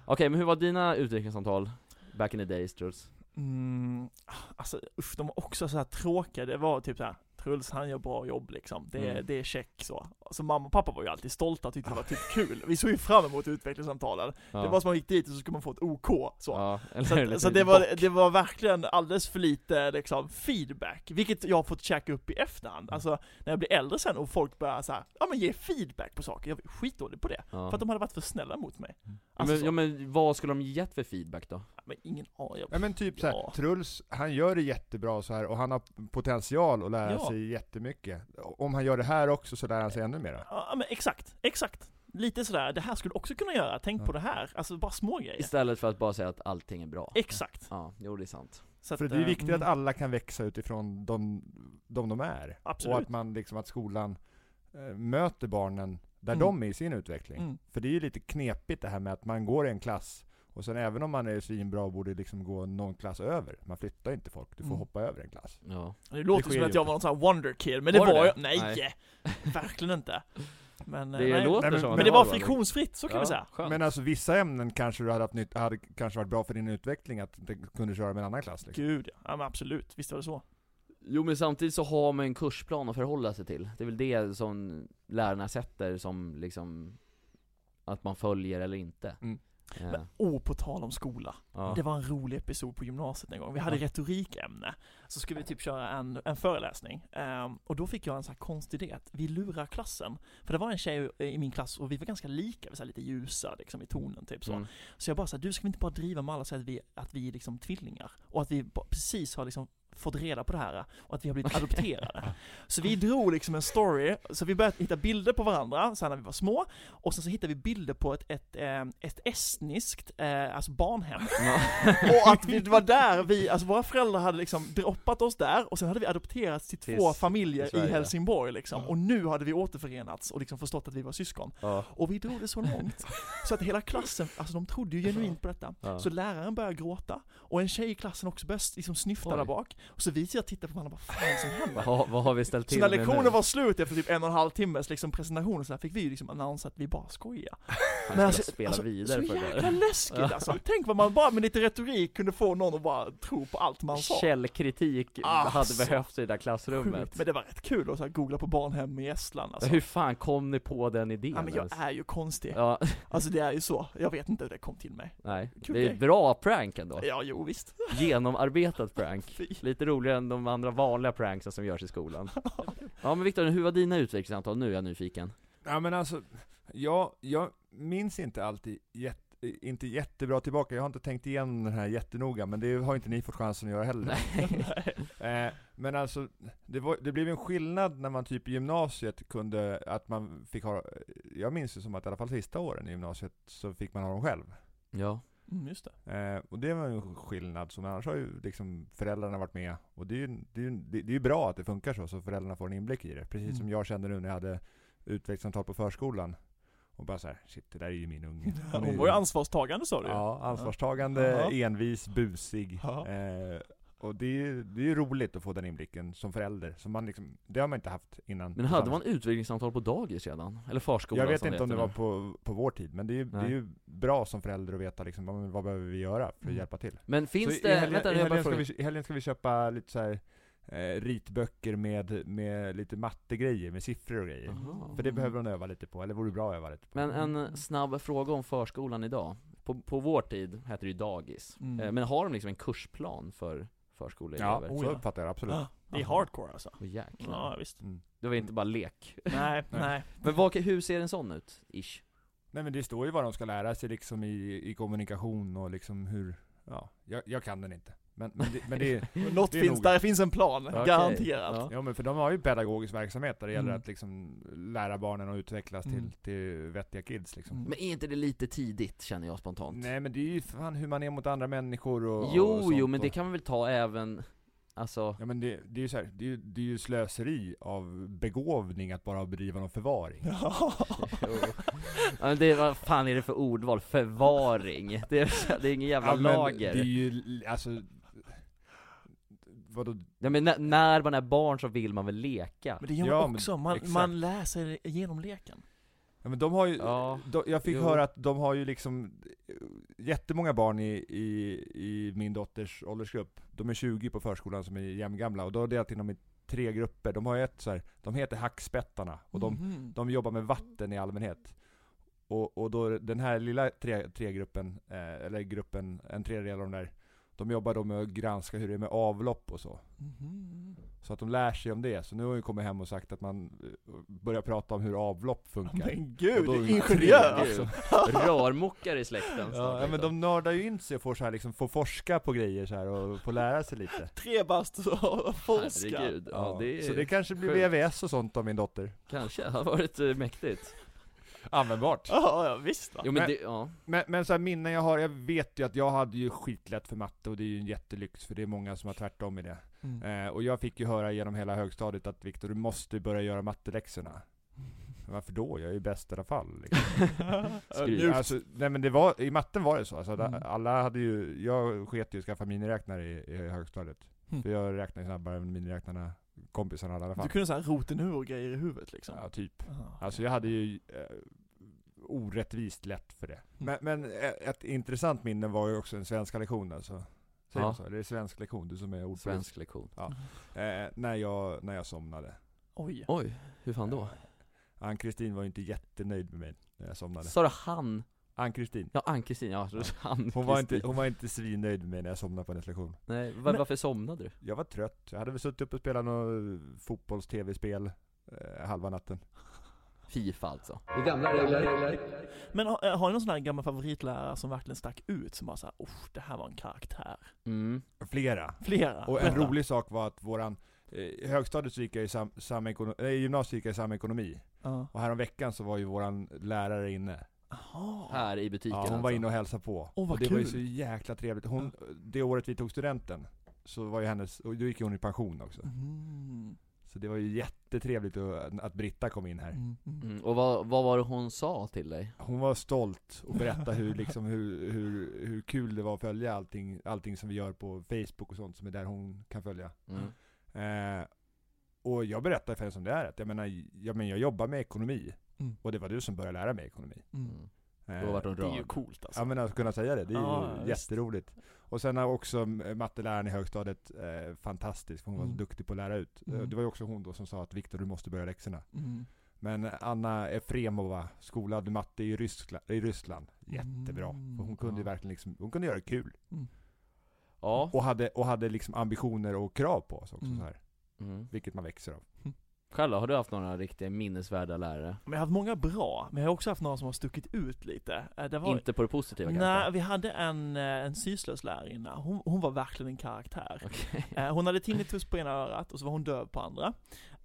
Okej, men hur var dina utvecklingssamtal back in the days Truls?
Mm, alltså usch, de var också så här tråkiga. Det var typ så här, Truls han gör bra jobb liksom. Det,
Mm.
det är check så. Så mamma och pappa var ju alltid stolta och tyckte det var typ kul. Vi såg ju fram emot utvecklingssamtalen.
Ja.
Det var som att man gick dit och så skulle man få ett OK så.
Ja, eller
Så,
hur? Lite
att, så att det, var, det var verkligen alldeles för lite liksom, feedback, vilket jag har fått käka upp i efterhand. Alltså när jag blir äldre sen och folk börjar så här, ja men ge feedback på saker, jag är skitdålig på det.
Ja.
För att de hade varit för snälla mot mig.
Ja,
Alltså,
men,
så,
ja, men vad skulle de gett för feedback då?
men ingen aning.
Ja men typ såhär,
Ja.
Truls, han gör det jättebra så här och han har potential att lära
Ja.
sig jättemycket. Om han gör det här också så lär han sig ännu mer.
Ja men exakt, exakt. Lite sådär, det här skulle du också kunna göra, tänk
Ja.
på det här. Alltså bara små grejer.
Istället för att bara säga att allting är bra
Exakt.
Ja, jo det är sant
Så
För
att,
det är
eh,
viktigt att
mm,
alla kan växa utifrån de de, de är.
Absolut.
Och att man liksom, att skolan eh, möter barnen där
Mm.
de är i sin utveckling.
Mm.
För det är ju lite knepigt det här med att man går i en klass och sen även om man är svinbra borde liksom gå någon klass över. Man flyttar inte folk, du får
Mm.
hoppa över en klass.
Ja,
Det låter
Det sker
som
ju
att jag
inte.
var någon sån här wonder kid, men det
Var
var,
det
jag,
det?
nej,
Nej.
verkligen inte. Men, eh,
det
nej.
låter
Nej, men-
som att
men det var
va?
friktionsfritt, så kan
ja,
vi säga.
skönt.
Men alltså vissa ämnen kanske du hade haft nytt, hade kanske varit bra för din utveckling att du kunde köra med en annan klass liksom.
Gud ja, ja men absolut, visst var det så.
Jo men samtidigt så har man en kursplan att förhålla sig till Det är väl det som lärarna sätter som liksom Att man följer eller inte
Mm.
Eh,
Men, oh, på tal om skola.
ja.
Det var en rolig episod på gymnasiet en gång. Vi hade
Ja.
retorikämne. Så skulle vi typ köra en, en föreläsning. Ehm, och då fick jag en sån här konstig idé att vi lurar klassen. För det var en tjej i min klass och vi var ganska lika, vi var så här lite ljusa liksom i tonen typ så.
Mm.
Så jag bara så här, du ska vi inte bara driva med alla och säga att vi, att vi är liksom tvillingar? Och att vi ba- precis har liksom fått reda på det här och att vi har blivit adopterade. Så vi drog liksom en story, så vi började hitta bilder på varandra så här när vi var små, och sen så hittade vi bilder på ett, ett, eh, ett estniskt, eh, alltså barnhem.
Ja.
Och att vi, det var där vi, alltså våra föräldrar hade liksom droppat oss där, och sen hade vi adopterats till två
Tills- i
familjer i
Sverige.
Helsingborg liksom, och nu hade vi återförenats och liksom förstått att vi var syskon.
Ja.
Och vi drog det så långt, så att hela klassen, alltså de trodde ju genuint på detta.
Ja.
Så läraren börjar gråta, och en tjej i klassen också börjar liksom snyfta
Oj.
där bak. Och så vi sitter och tittar på varandra, vad fan är det som
Vad,
händer?
har- vad har vi ställt
Så
till
när
med nu?
lektionen var slut efter typ en och en halv timmes liksom presentation så här fick vi ju liksom annons att vi bara skojar.
Han
Men
ska
alltså-
spela
alltså,
vidare
Så
på det där
jäkla läskigt
Ja.
alltså. Tänk vad man bara med lite retorik kunde få någon att bara tro på allt man sa.
Källkritik
Ah,
hade
så
behövts i det där
Sjukt.
klassrummet
Men det var rätt kul att så här googla på barnhem i Estland alltså.
Hur fan kom ni på den idén?
Ja, men jag
ens?
är ju konstig.
ja,
Alltså det är ju så. Jag vet inte hur det kom till mig.
nej,
Kul
det är
grej.
ett bra prank ändå
Ja, jo visst.
Genomarbetat prank
Fy.
Lite roligare än de andra vanliga pranksen som görs i skolan Ja men Viktor, hur var dina utvecklingssamtal? Nu är jag nyfiken
Ja men alltså, jag, jag minns inte alltid jätte, inte jättebra tillbaka, jag har inte tänkt igenom den här jättenoga, men det har inte ni fått chansen att göra heller.
Nej
Mm,
Eh, men alltså, det, var, det blev en skillnad när man typ i gymnasiet kunde, att man fick ha, jag minns det som att i alla fall sista åren i gymnasiet så fick man ha dem själv.
Ja,
Mm, just det.
Eh, och det var ju en skillnad, som annars har ju liksom föräldrarna varit med. Och det är ju det är, ju- det, det är ju bra att det funkar så, så föräldrarna får en inblick i det. Precis som
Mm.
jag kände nu när jag hade utvecklingssamtal på förskolan. Och bara så här, shit det där är ju min unge. är
Hon var ju ansvarstagande sa du ju.
Ja, ansvarstagande,
Ja.
envis, busig.
Ja.
Eh, och det är ju det är ju roligt att få den inblicken som förälder. Som man liksom, det har man inte haft innan.
men hade man utvecklingssamtal på dagis redan? Eller förskolan
Jag vet
som
inte om det
heter
var
nu.
på, på vår tid, men det är, ju, det är
Nej.
ju bra som förälder att veta liksom, vad, vad behöver vi göra för att
Mm.
hjälpa till.
Men
Så
finns
i
det,
helgen,
vänta
i
nu jag bara
helgen, ska
frågar
vi, I helgen ska vi köpa lite så här, eh, ritböcker med, med lite mattegrejer, med siffror och grejer.
Jaha.
För det behöver hon öva lite på, eller vore bra att öva lite på.
Mm. Men
Mm.
en snabb fråga om förskolan idag På, på vår tid hette det ju dagis
Mm.
Eh, Men har de liksom en kursplan för
ja,
förskoleelever?
Oh,
så
ja.
uppfattar jag det, absolut.
Ah, Det är
Aha.
hardcore alltså.
Åh, jäklar
Ja, visst.
Mm.
Det var inte bara lek
Nej, nej.
Men vad, hur ser en sån ut? Ish
Nej men det står ju vad de ska lära sig liksom i, i kommunikation och liksom hur, ja, jag, jag kan den inte. Men, men, det, men det är
Något
Det är
finns,
nog-
där finns en plan,
Okej.
garanterat.
Ja.
Ja men för de har ju pedagogisk verksamhet där det gäller
Mm.
att liksom lära barnen att utvecklas
Mm.
till, till vettiga kids liksom.
Mm.
Men är inte det lite tidigt, känner jag spontant?
Nej men det är ju fan hur man är mot andra människor och och
jo,
sånt
jo, men
och-
det kan man väl ta även, alltså,
Ja men det, det är ju så här, det, är, ju- det är ju slöseri av begåvning att bara bedriva någon förvaring.
ja, men det, vad fan är det för ordval? Förvaring? Det är, det är ingen jävla
Ja, men
lager.
Det är ju, alltså, vadå,
Ja, men när, när man är barn så vill man väl leka?
Men det gör man
Ja, men
också, man,
exakt.
man lär sig genom leken.
Ja men de har ju,
Ja,
de, jag fick
jo.
höra att de har ju liksom eh, jättemånga barn i, i, i min dotters åldersgrupp. De är 20 på förskolan som är jämngamla och då har jag delat in dem i tre grupper. De har ju ett så här, de heter hackspettarna och de,
Mhm.
de jobbar med vatten i allmänhet. Och, och då den här lilla tre, tre gruppen, eh, eller gruppen, en tredjedel av de där, de jobbar då med att granska hur det är med avlopp och så.
Mhm.
Så att de lär sig om det. Så nu har jag kommit hem och sagt att man eh, börjar prata om hur avlopp funkar.
Men
Och
gud,
då-
ingenjör!
Gud.
Alltså.
rörmokare i släkten
Ja,
snart,
ja men
liksom.
de nördar ju in sig och får, så här, liksom, får forska på grejer så här och får lära sig lite.
Tre bast och forskar.
Herregud, ja, det är,
så det kanske blir
sjukt.
VVS och sånt av min dotter.
kanske har varit eh, mäktigt
Användbart.
Ja, ja, visst va?
Jo men
Men-
det, ja
Men, men så här, minnen jag har, jag vet ju att jag hade ju skitlätt för matte och det är ju en jättelyx för det är många som har tvärtom i det.
Mm.
Eh, och jag fick ju höra genom hela högstadiet att Viktor, du måste börja göra matteläxorna. Varför då? Jag är ju bäst i alla fall. Liksom.
Skryt.
Mjukt.
Alltså, nej men det var, i matten var det så. Alltså, att
Mm.
Alla hade ju, jag sket ju i att skaffa miniräknare i, i högstadiet.
Mm.
För jag räknade snabbare än miniräknarna, kompisarna hade i alla
Du
fall.
kunde såhär roten ur grejer i huvudet liksom.
Ja, typ.
Ah.
Alltså jag hade ju eh, orättvist lätt för det. Men, men eh, ett intressant minne var ju också en svenska lektion alltså.
Ja.
Säger man så? Det är svensk lektion, du som är ordproffs.
Svensk lektion
Eh, när, jag, när jag somnade.
Mm. Oj.
Oj, hur fan då?
Ann-Kristin var ju inte jättenöjd med mig när jag somnade.
Sa du han?
Ann-Kristin.
Ja Ann-Kristin, ja,
Ja.
han
Hon var, inte, hon var inte svinnöjd med mig när jag somnade på hennes lektion.
Nej, var,
Men-
varför somnade du?
Jag var trött, jag hade väl suttit upp och spelat något eh, fotbolls-tv-spel eh, halva natten.
Fifa alltså
Gamla regler.
Men har, eh, har ni någon sån här gammal favoritlärare som verkligen stack ut? Som bara såhär, oh, det här var en karaktär.
mm.
Flera.
Flera.
Och en
Berätta.
rolig sak var att våran, eh, i högstadiet så gick jag i sam, sam äh, gymnasiet gick jag i samekonomi.
Ja.
Och häromveckan så var ju våran lärare inne.
Jaha.
Här i butiken alltså.
Ja, hon var inne och hälsade på.
Åh, vad
och det var ju
kul.
så jäkla trevligt. Hon, det året vi tog studenten, så var ju hennes, och då gick hon i pension också.
Mm.
Så det var ju jättetrevligt att, att Britta kom in här.
Mm. Mm.
mm. Och vad, vad var det hon sa till dig?
Hon var stolt och berättade hur, liksom, hur, hur, hur kul det var att följa allting, allting som vi gör på Facebook och sånt som är där hon kan följa.
Mm.
Eh, och jag berättade för henne som det är, att jag menar, jag, men jag jobbar med ekonomi
Mm.
och det var du som började lära mig ekonomi.
Mm.
Mm.
Eh,
Då vart hon
Det är ju
rörd
coolt alltså.
Ja men att kunna säga det, det är
Ja,
ju
visst.
jätteroligt. Och sen har också eh, matteläraren i högstadiet, eh, fantastisk, för hon var
Mm.
så duktig på att lära ut. Eh,
Mm.
Det var ju också hon då som sa att Viktor du måste börja läxorna.
Mm.
Men Anna Efremova, skolad i matte i Ryssland, i Ryssland. jättebra.
Mm,
För hon kunde ju
ja.
verkligen liksom, hon kunde göra det kul.
Ja
Och hade, och hade liksom ambitioner och krav på oss också
Mm.
så här.
mm.
Vilket man växer av.
Själv då, har du haft några riktigt minnesvärda lärare?
Men jag har haft många bra, men jag har också haft några som har stuckit ut lite. Eh, Det var,
Inte på det positiva
Nej,
kanske?
vi hade en, eh, en sysslös lärarinna. Hon, hon var verkligen en karaktär.
Okej
Eh, Hon hade tinnitus på ena örat och så var hon döv på andra.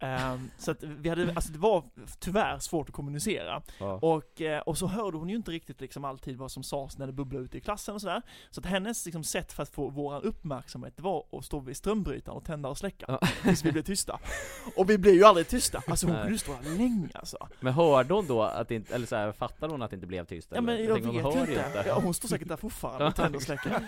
Ehm, Så att vi hade, alltså det var tyvärr svårt att kommunicera.
ja.
Och, eh, och så hörde hon ju inte riktigt liksom alltid vad som sades när det bubblade ute i klassen och sådär. Så att hennes liksom sätt för att få våran uppmärksamhet det var att stå vid strömbrytaren och tända och släcka.
Ja.
Tills vi blev tysta. Och vi blev ju aldrig tysta. Alltså hon
Nej.
kunde stå där länge alltså.
Men hörde hon då att det inte, eller så här, fattade hon att det inte blev tyst?
Ja men
eller?
jag
tänker,
vet
hon hör
ju
ju
inte. Ja, hon står säkert där fortfarande och tänder och släcker.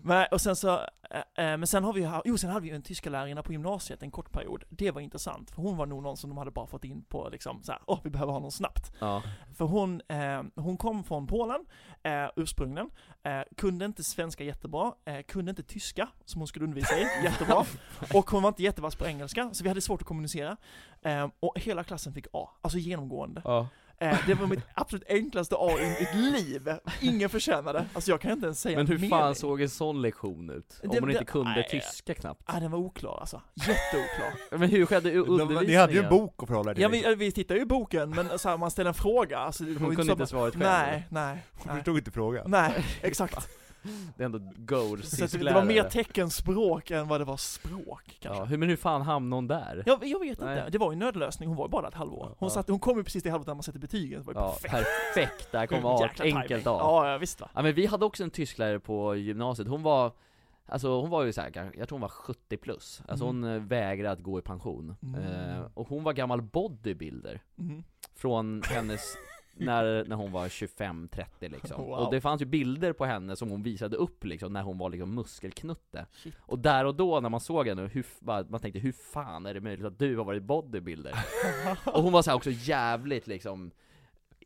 men, och sen så, eh, eh, men sen har vi ju, ha- jo sen hade vi ju en tyska lärarinna på gymnasiet en kort period. Det var intressant, för hon var nog någon som de hade bara fått in på liksom så här, åh vi behöver ha någon snabbt.
Ja,
För hon, eh, hon kom från Polen, eh, ursprungligen, eh, kunde inte svenska jättebra, eh, kunde inte tyska, som hon skulle undervisa i, jättebra. Och hon var inte jättevass på engelska, så vi hade svårt att kommunicera. Eh, och hela klassen fick A, alltså genomgående.
ja.
Eh, Det var mitt absolut enklaste A i mitt liv. Ingen förtjänade. Alltså jag kan inte ens säga
Men hur
en
fan
mening.
såg en sån lektion ut? Om
Det-
hon inte
det-
kunde
nej.
tyska knappt?
Ah, den var oklar alltså. Jätteoklar.
Men hur skedde u- undervisningen?
ni hade ju en bok att förhålla er till. liksom.
ja, vi, vi tittar ju i boken, men så här, man ställer en fråga. Alltså, det var
Hon
ju
kunde
så
inte svaret själv?
Nej, nej,
Hon
nej.
förstod inte frågan.
Nej, exakt.
Det är ändå goals
Så att det, det var mer teckenspråk än vad det var språk kanske.
ja, hur, Men hur fan hamnade hon där?
Jag, jag vet inte,
Nej.
det var ju en nödlösning, hon var ju bara ett halvår. Hon,
Ja.
satt, hon kom ju precis det halvåret när man sätter betygen, så det var ju
Ja,
perfekt.
perfekt! Där kom
Jäkla
art,
timing.
enkelt av.
Ja, ja, visst va.
Ja men vi hade också en tysklärare på gymnasiet, hon var Alltså hon var ju såhär, kanske- jag tror hon var 70 plus, alltså
Mm.
hon eh, vägrade att gå i pension
Mm.
eh, Och hon var gammal bodybuilder
Mhm.
Från hennes, när, när hon var 25-30 liksom
Wow.
Och det fanns ju bilder på henne som hon visade upp liksom, när hon var liksom muskelknutte Och där och då när man såg henne, hur, f- bara- man tänkte hur fan är det möjligt att du har varit bodybuilder? Och hon var så här också jävligt liksom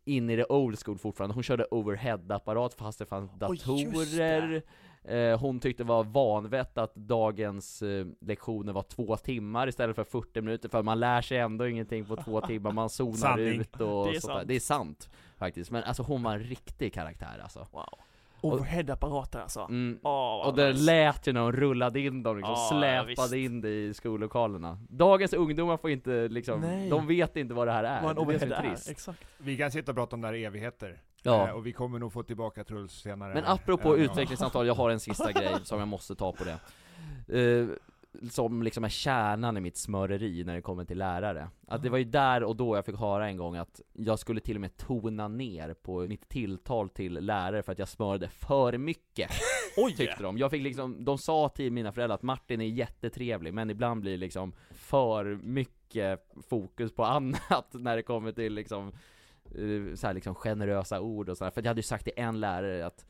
in i det old school fortfarande, hon körde overhead-apparat fast det fanns
just
datorer Eh, Hon tyckte det var vanvett att dagens eh, lektioner var två timmar istället för 40 minuter för man lär sig ändå ingenting på två timmar, man zonar
Sanning.
ut och
Det är
sånt där.
sant.
Det är sant faktiskt, men alltså hon var en riktig karaktär alltså
Wow. Overhead-apparater alltså.
mm.
Åh, vad
Och det
nice.
lät ju när de rullade in dem liksom,
Ja, ja, visst.
släpade in det i skollokalerna Dagens ungdomar får inte liksom,
Nej.
de vet inte vad det här är,
Vad en
det är det som
overhead
är
är.
trist
Exakt.
Vi kan sitta och prata om det här i evigheter.
Ja.
Eh, Och vi kommer nog få tillbaka Truls senare. Eh,
Men apropå
Ja.
utvecklingssamtal, jag har en sista grej som jag måste ta på det. Eh, som liksom är kärnan i mitt smöreri när det kommer till lärare. Att det var ju där och då jag fick höra en gång att jag skulle till och med tona ner på mitt tilltal till lärare för att jag smörde för mycket,
Oj!
tyckte de. Jag fick liksom, de sa till mina föräldrar att Martin är jättetrevlig, men ibland blir det liksom för mycket fokus på annat när det kommer till liksom eh, så här liksom generösa ord och sådär. För jag hade ju sagt till en lärare att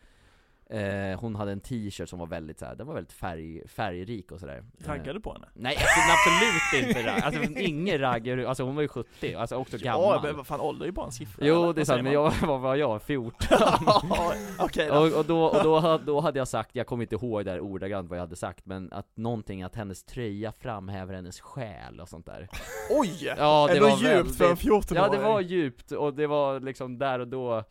eh, hon hade en t-shirt som var väldigt så här, den var väldigt färg, färgrik och sådär.
Rankade
Eh,
du på henne?
nej, alltså, absolut inte ragg. Alltså ingen ragg, över- alltså hon var ju 70, alltså också
Ja,
gammal.
men vad fan, ålder är ju bara en siffra.
Jo
eller?
det är
Vad
sant,
säger
men
man?
jag, vad var jag? 14?
Ja, Okej då.
Och, och, då, och då, ha- då hade jag sagt, jag kommer inte ihåg där ordagrant vad jag hade sagt, men att någonting, att hennes tröja framhäver hennes själ och sånt där.
Oj!
Ja det
Ändå
var
djupt för en 14
Ja det var djupt, och det var liksom där och då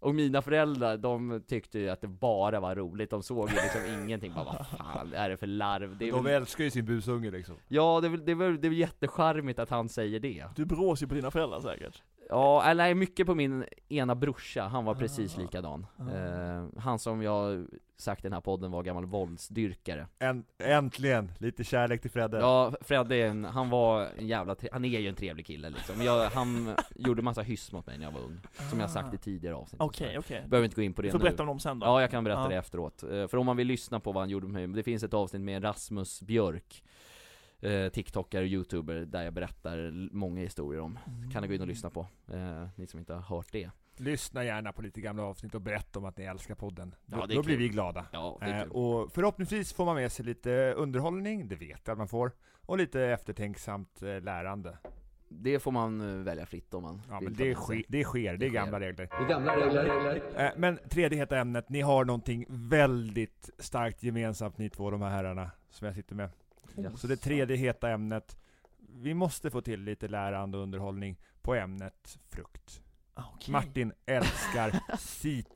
Och mina föräldrar, de tyckte ju att det bara var roligt, de såg ju liksom ingenting, bara vad fan är det för larv? Det är
De
väl,
älskar ju sin busunge liksom.
ja det är väl, det är väl, det är väl jättecharmigt att han säger det
Du brås ju på dina föräldrar säkert.
Ja, eller nej, mycket på min ena brorsa, han var precis
Ah.
likadan
Ah.
eh, Han som jag sagt i den här podden var gammal våldsdyrkare
Än- äntligen, lite kärlek till Fredde.
Ja, Fred är en, han var en jävla, tre- han är ju en trevlig kille liksom, men jag, han gjorde massa hyss mot mig när jag var ung Som jag sagt i tidigare avsnitt och sådär.
Ah, Okej, okej.
Behöver inte gå in på det
Får
nu
berätta om dem sen då.
Ja, jag kan berätta
Ja.
det efteråt. Eh, För om man vill lyssna på vad han gjorde med mig, det finns ett avsnitt med Rasmus Björk, eh, TikTokare och YouTuber, där jag berättar l- många historier om.
Mm.
Kan ni gå in och lyssna på, eh, ni som inte har hört det.
Lyssna gärna på lite gamla avsnitt och berätta om att ni älskar podden. Då,
Ja, det är
då blir
kul.
vi glada.
Ja, det
Eh,
är kul.
och förhoppningsvis får man med sig lite underhållning, det vet jag att man får. Och lite eftertänksamt eh, lärande.
Det får man eh, välja fritt om man
Ja
vill
men
ta
det
med
sker,
sig.
det sker, det
Det
är
sker.
gamla regler.
Det är gamla regler, regler.
Eh, Men tredje heta ämnet, ni har någonting väldigt starkt gemensamt ni två, de här herrarna, som jag sitter med.
Ja.
Så det tredje heta ämnet, vi måste få till lite lärande och underhållning på ämnet frukt.
Ah, okej.
Martin älskar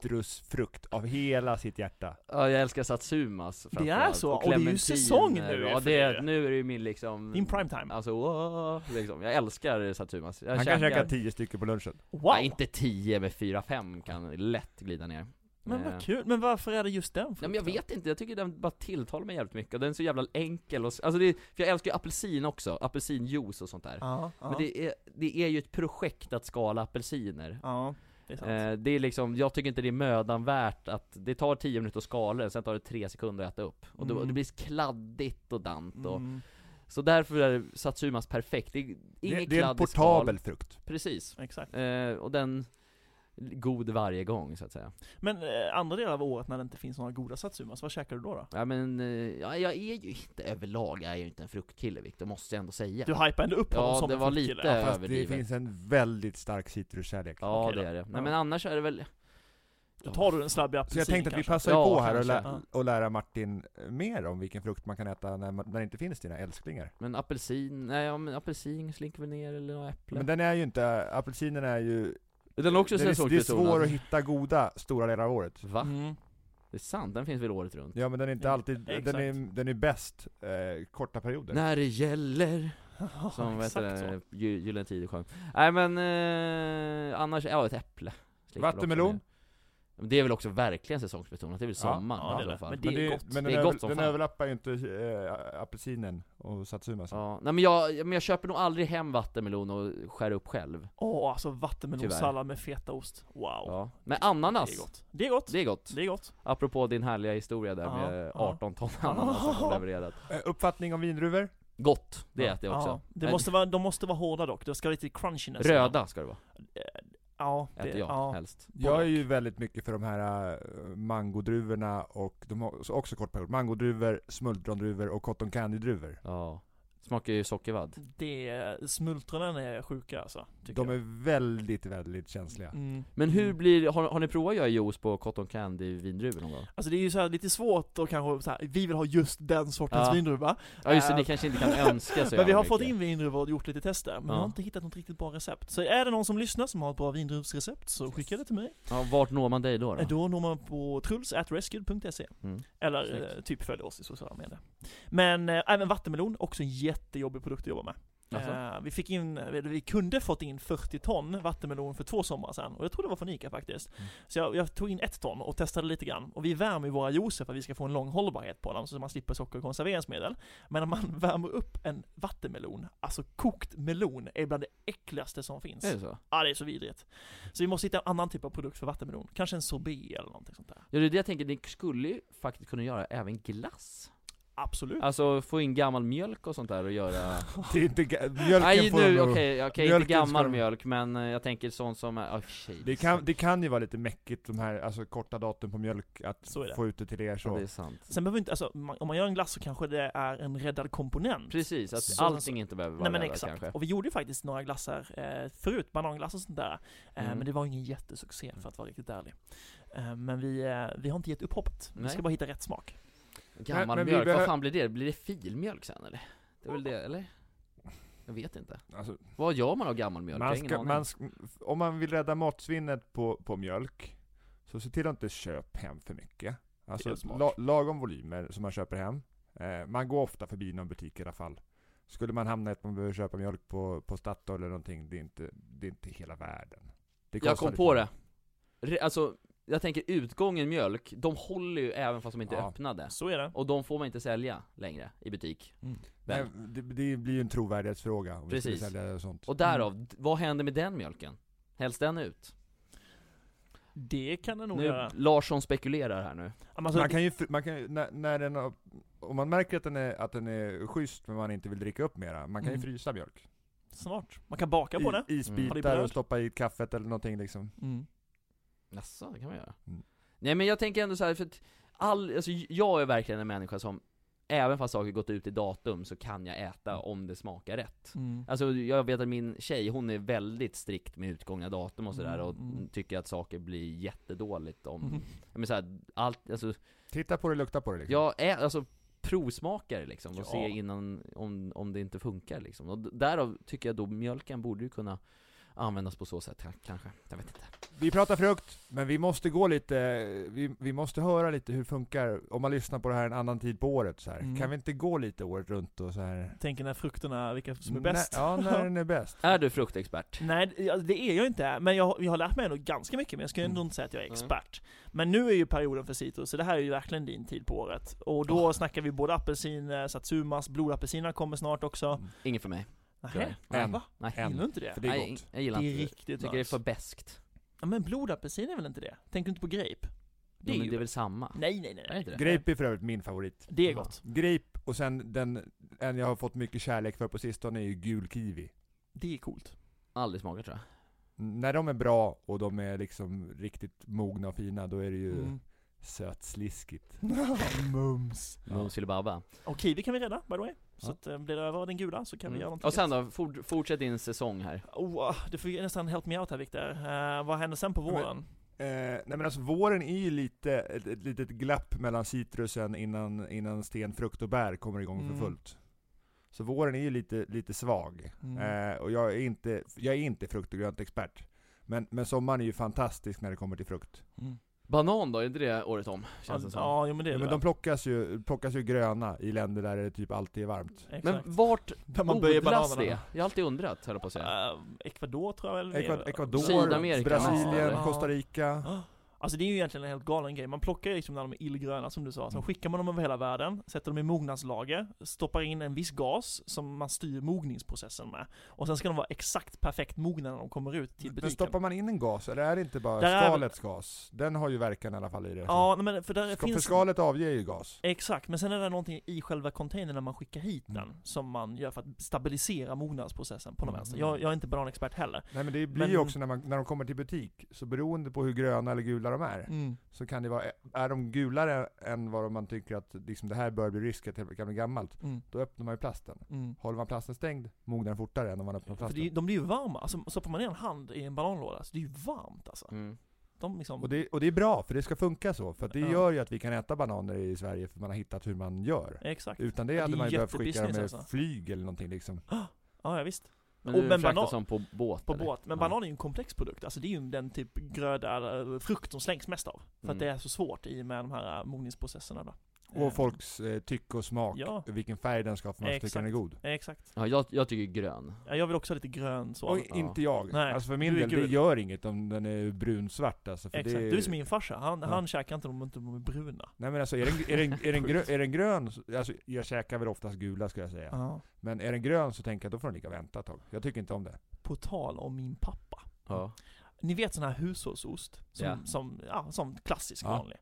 citrusfrukt av hela sitt hjärta.
Ja, jag älskar Satsumas framförallt,
är så, och det är ju
clementiner
säsong nu
Ja,
för
det,
det.
är- nu är det ju min liksom...
Din prime time.
Alltså, åh, liksom. jag älskar Satsumas. Jag
Han kan
käkar-
käka tio stycken på lunchen.
Wow!
Nej, inte 10 men 4-5 kan lätt glida ner.
Men
Eh,
vad kul, men varför är det just den
Nej
frukten?
men jag vet inte, jag tycker den bara tilltalar mig jävligt mycket, och den är så jävla enkel och, s- alltså det, för jag älskar ju apelsin också, apelsinjuice och sånt där.
Ja, ja.
Men det är, det är ju ett projekt att skala apelsiner.
Ja, det är sant.
Eh, det är liksom, jag tycker inte det är mödan värt att, det tar 10 minuter att skala den, sen tar det 3 sekunder att äta upp. Och då,
Mm.
det blir kladdigt och dant och,
Mm,
så därför är Satsumas perfekt, det är
Det,
inget
det är en
kladdigt
portabel
skal.
frukt.
Precis.
exakt.
Eh, och den, god varje gång så att säga.
Men eh, andra delar av året när det inte finns några goda satsumas, vad käkar du då? då?
Ja men, eh, ja, jag är ju inte överlag, jag är ju inte en fruktkille Viktor, måste jag ändå säga.
Du hypar ändå upp honom
Ja,
som
det
en
var
fruktkille.
lite
Fast det
överdrivet.
finns en väldigt stark citruskärlek.
Ja
Okej
det
då.
är det.
Ja.
Nej men annars är det väl...
Då tar du den slabbiga
Så
apelsin
jag tänkte att vi
kanske.
passar ju
Ja,
på här och,
kanske.
lä- och lära Martin eh, mer om vilken frukt man kan äta när, man, när det inte finns dina älsklingar.
Men apelsin, nej ja, men apelsin slinker väl ner eller något äpple.
Men den är ju inte, apelsinen är ju...
den är också
det, är, det är svår att hitta goda stora delar av året.
Va?
Mm.
Det är sant, den finns väl året runt?
Ja men den är inte
Ja,
alltid, den är,
exakt.
den är bäst eh, korta perioder.
När det gäller, som vet
Exakt så.
du, Gy- Gyllene Tider sjöng. Nej men, eh, annars, ja ett äpple. Slinker väl också
Vattenmelon?
ner. Men det är väl också verkligen säsongsbetonat, det är väl
Ja,
sommar
ja, det är
i alla
det.
fall.
Men det- är
men
gott.
Men
Det
den,
är
över,
gott som
den
fan.
överlappar ju inte eh, apelsinen och satsumas.
Ja, nej men jag, men jag köper nog aldrig hem vattenmelon och skär upp själv.
Åh, alltså vattenmelonsallad med fetaost. Wow.
Ja. Men
Det är
ananas,
gott. Det är gott.
det är gott.
Det är gott.
Apropå din härliga historia där
Ja,
med
ja.
18 ton ananas som
Ja.
du levererat.
Eh, uppfattning om vindruvor?
Gott, det
Ja.
äter jag också.
Ja, det
Nej,
måste vara, de måste vara hårda dock, det ska lite crunchiness
Röda ska det vara,
Ja, det,
äter jag
ja.
helst.
Jag är ju väldigt mycket för de här eh, mangodruvorna och de har också kort period. Mangodruvor, smultrondruvor och cotton candy-druvor.
Ja. Smakar ju sockervadd.
det Smultronen är sjuka alltså, tycker
De
jag.
är väldigt, väldigt känsliga.
Mm.
Men hur
Mm.
blir, har, har ni provat att göra juice på cotton candy vindruvor någon gång?
Alltså det är ju så här lite svårt och kanske så här, vi vill ha just den sortens
Ja.
vindruva.
Ja just det,
Äh,
ni kanske inte kan önska så
Men vi har
jävla
fått
mycket.
in vindruvor och gjort lite tester, men vi
Ja.
har inte hittat något riktigt bra recept. Så är det någon som lyssnar som har ett bra vindruvsrecept så skicka det till mig.
Ja, vart når man dig då? då?
Äh,
Då, når man på truls.rescued.se
Mm.
Eller
Snyggt.
eh, typ följ oss i sociala medier. Men eh, även vattenmelon, också en jättejobbig produkt att jobba med.
Alltså?
Eh, vi fick in, eller vi kunde fått in 40 ton vattenmelon för två sommar sedan, och jag tror det var från Ica faktiskt.
Mm.
Så jag, jag tog in ett ton och testade lite grann, och vi värmer ju våra juicer för att vi ska få en lång hållbarhet på dem, så man slipper socker och konserveringsmedel. Men när man värmer upp en vattenmelon, alltså kokt melon, är bland det äckligaste som finns.
Är det så?
Ja, det är så vidrigt. Så vi måste hitta en annan typ av produkt för vattenmelon, kanske en sorbet eller någonting sånt där.
Ja det är det jag tänker, ni skulle ju faktiskt kunna göra även glass.
Absolut.
Alltså få in gammal mjölk och sånt där och göra
Det är inte, ga- mjölken
Nej
får
nu,
de nog-
okej, okej,
Mjölken
inte
ska de-
gammal mjölk men eh, jag tänker sånt som är, oh, shit.
det, kan, det kan ju vara lite mäckigt de här, alltså korta datum på mjölk, att
Så är det.
få ut det till er
Ja,
så.
det är sant.
Sen behöver inte, alltså, man- om man gör en glass så kanske det är en räddad komponent.
Precis, att
Så-
allting inte behöver vara
Nej men
räddat
exakt.
kanske.
Och vi gjorde ju faktiskt några glassar eh, förut, bananglass och sånt där. Eh,
Mm.
Men det var ju ingen jättesuccé
Mm.
för att vara riktigt ärlig. Eh, men vi, eh, vi har inte gett upp hoppet. Vi
Nej.
ska bara hitta rätt smak.
Gammal
Men- men vi
mjölk,
behö-
vad fan blir det? Blir det filmjölk sen eller? Det är väl det, eller? Jag vet inte.
Alltså,
Vad gör man av gammal mjölk? Jag har
man
ingen
ska,
aning.
man sk- om man vill rädda matsvinnet på, på mjölk, så se till att inte köpa hem för mycket.
Det
Alltså
är smart.
la, lagom volymer som man köper hem. Eh, man går ofta förbi någon butik i alla fall. Skulle man hamna i att man behöver köpa mjölk på, på Statoil eller någonting, det är inte, det är inte hela världen. Det
Jag
kostar
kom
lite
på
mer.
det. Re, alltså, jag tänker utgången mjölk, de håller ju även fast de inte är
Ja.
öppnade.
Så är det.
Och de får man inte sälja längre i butik.
Nej, det, det blir ju en trovärdighetsfråga om vi
Precis.
skulle sälja sånt.
Och därav, d- vad händer med den mjölken? Hälls den ut?
Det kan det nog
Nu,
göra.
Larsson spekulerar här nu.
Ja, men Alltså,
man kan ju, fr- man kan, ju- när, när den har, om man märker att den, är, att den är schysst men man inte vill dricka upp mera, man kan ju
Mm.
frysa mjölk.
Snart. Man kan baka på det.
I,
Har
det
isbitar
bröd?
och stoppa i kaffet eller någonting liksom.
Mm.
Jaså, det kan man göra?
Mm.
Nej men jag tänker ändå så här, för att all, alltså, jag är verkligen en människa som, även fast saker gått ut i datum så kan jag äta om det smakar rätt.
Mm.
Alltså jag vet att min tjej, hon är väldigt strikt med utgångna datum och sådär
Mm,
och
mm.
tycker att saker blir jättedåligt om,
Mm.
ja, men så här, allt, alltså,
Titta på det, lukta på det liksom.
jag är, alltså provsmakare liksom och
Ja.
se innan om, om det inte funkar liksom. Och d- därav tycker jag då mjölken borde ju kunna användas på så sätt ka- kanske, jag vet inte.
Vi pratar frukt, men vi måste gå lite, vi, vi måste höra lite hur det funkar om man lyssnar på det här en annan tid på året så här.
Mm.
Kan vi inte gå lite året runt och så här?
Tänker när frukterna, vilka som är bäst.
När, ja, när den är bäst.
Är du fruktexpert?
Nej, det- ja, det är jag inte. Men jag, har- jag har lärt mig ändå ganska mycket, men jag ska ju ändå inte säga att jag är
Mm.
expert. Men nu är ju perioden för citrus, så det här är ju verkligen din tid på året. Och då snackar vi både apelsin, eh, satsumas, blodapelsinerna kommer snart också.
Inget för mig.
Nähä,
En.
va?
Nej.
Mm. En.
Gillar du inte det?
För det är
Nej,
gott.
Jag gillar
Det är
inte det.
riktigt
tycker det är
nice.
för beskt.
Ja, men blodapelsin är väl inte det? Tänker du inte på grape?
Det
Det
är,
är
men
ju-
det är väl samma?
Nej, nej, nej.
Är det inte det?
Grape är för övrigt min favorit.
Det är
Jaha.
gott.
Grape, och sen den, en jag har fått mycket kärlek för på sistone är ju gul kiwi.
Det är coolt.
Aldrig smakat tror jag.
När de är bra och de är liksom riktigt mogna och fina, då är det ju
Mm.
sötsliskigt.
Mums.
Ja.
Mums eller baba.
Och kiwi kan vi rädda, by the way. Så
Ja.
att, eh, blir det över den gula så kan vi göra någonting.
Mm. Och sen då, fort, fortsätt din säsong här.
Oh, ah, du får ju nästan help me out här Viktor. Eh, vad händer sen på
Men-
våren?
Eh, nej men alltså våren är ju lite, ett, ett litet glapp mellan citrusen innan, innan sten, frukt och bär kommer igång
Mm.
för fullt. Så våren är ju lite, lite svag.
Mm.
Eh, och jag är inte, jag är inte frukt och grönt expert. Men, men sommaren är ju fantastisk när det kommer till frukt.
Mm.
Banan då, är inte det året om? Känns det som.
Ja, jo, men det är
Ja, men
det.
de plockas ju, plockas ju gröna i länder där det typ alltid är varmt.
Exakt.
Men vart
Där
odlas det? Jag har alltid undrat, höll jag på att säga.
Eh, Ecuador tror jag väl.
Ecuador,
Sydamerika.
Brasilien,
Ja.
Costa Rica.
Ja, Alltså det är ju egentligen en helt galen grej. Man plockar ju liksom när de är illgröna som du sa, sen
Mm.
skickar man dem över hela världen, sätter dem i mognadslager, stoppar in en viss gas som man styr mogningsprocessen med. Och sen ska de vara exakt perfekt mogna när de kommer ut till
Men
butiken.
stoppar man in en gas, eller är det inte bara
Där är-
skalets gas? Den har ju verkan i alla fall i det. alltså.
Ja, nej, men för där
Ska, för
finns...
skalet avger ju gas.
Exakt, men sen är det någonting i själva containern när man skickar hit
Mm.
den som man gör för att stabilisera mognadsprocessen på något
Mm.
vänster. Jag, jag är inte bananexpert heller.
Nej men det blir ju
Men-
också när, man, när de kommer till butik, så beroende på hur gröna eller gula de är,
Mm.
så kan det vara, är de gulare än vad man tycker att liksom, det här bör bli risk att det kan bli gammalt,
Mm.
då öppnar man ju plasten.
Mm.
Håller man plasten stängd, mognar den fortare än om man öppnar
För
plasten.
det, de blir ju varma, alltså stoppar man ner en hand i en bananlåda, så det är ju varmt alltså.
Mm.
De liksom...
Och det, och det är bra, för det ska funka så, för att det
Ja.
gör ju att vi kan äta bananer i Sverige, för man har hittat hur man gör.
Exakt.
Utan det
Ja,
hade
det är
man ju behövt skicka dem
jättebusiness
med
alltså.
flyg eller någonting liksom.
Ja, ja, visst.
Men
Och
nu
men
fraktas
banan-
de på båt
På
eller?
båt. Men
Ja.
banan är ju en komplex produkt. Alltså det är ju den typ gröda, eller frukt som slängs mest av. För
Mm.
att det är så svårt i och med de här äh, mogningsprocesserna då. Eh,
Och folks eh, tycke och smak,
Ja.
vilken färg den ska ha för man ska tycka den är god.
Exakt.
Ja, jag, jag tycker grön.
Ja, Jag vill också ha lite grön så.
Och inte jag.
Nej,
alltså för min
du är
del, det
gul.
gör inget om den är brunsvart alltså. För
Exakt.
Det
Du är som min farsa, han,
Ja.
han käkar inte dem om inte de är bruna.
Nej men alltså, är den, är den, är den, grön, är den grön, så- alltså jag käkar väl oftast gula ska jag säga.
Ja.
Men är den grön så tänker jag, då får den ligga och vänta ett tag. Jag tycker inte om det.
På tal om min pappa.
Ja.
Ni vet sån här hushållsost? Som,
Ja.
som, ja, som klassisk
Ja.
vanlig.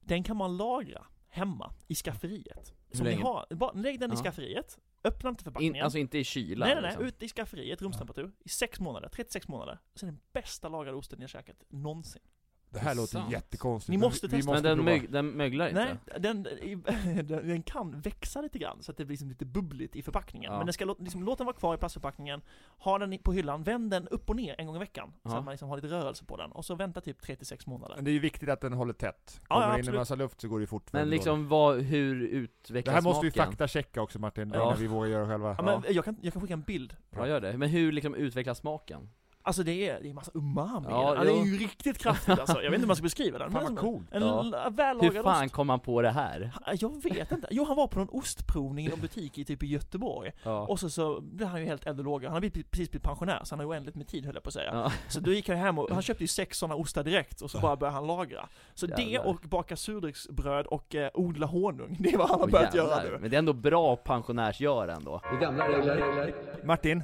Den kan man lagra hemma i skafferiet.
Hur
Som ni
länge?
har, bara, lägg den i
Ja.
skafferiet, öppna inte förpackningen.
In, alltså inte i kylan
nej, nej, nej.
liksom.
Ute i skafferiet, rumstemperatur, i sex månader, 36 månader. Sen den bästa lagrade osten jag käkat någonsin.
Det här
Det är
låter
sant.
jättekonstigt.
Ni
men
måste
vi, vi
testa.
måste
Men den,
prova.
mög, den möglar inte?
Nej, den, den den kan växa lite grann så att det blir liksom lite bubbligt i förpackningen.
Ja.
Men den ska låta, liksom, låt den vara kvar i plastförpackningen, ha den i- på hyllan, vänd den upp och ner en gång i veckan. Så
Ja.
att man liksom har lite rörelse på den. Och så vänta typ 36 månader.
Men det är ju viktigt att den håller tätt.
Ja, ja,
Kommer det in en
absolut.
massa luft så går det ju fort.
Men liksom vad, hur
Det
utvecklas
här måste vi
smaken?
faktachecka också Martin,
Ja.
innan vi vågar göra själva.
Ja, men jag, kan, jag kan skicka en bild.
Ja gör det, men hur liksom utvecklas smaken?
Alltså det är, det är massa umami
Ja,
ja, det är
jo.
ju riktigt kraftigt alltså. Jag vet inte hur man ska beskriva den.
Fan
men
vad
som
coolt.
en
Ja.
ja.
Hur
vällagad
fan
ost.
kom man på det här?
Jag vet inte. Jo, han var på någon ostprovning i någon butik i typ i Göteborg.
Ja.
Och så, så blev han ju helt eld och låga. Han har blivit- precis blivit pensionär, så han har ju oändligt med tid höll jag på att säga.
Ja.
Så då gick han hem
Mm.
och, han köpte ju sex sådana ostar direkt och så bara började han lagra. Så det
Jävlar.
och baka surdegsbröd och eh, odla honung, det är vad han har
Åh,
börjat göra
jävlar.
nu.
Men det är ändå bra pensionärsgör ändå.
Det är gamla regler, regler.
Martin,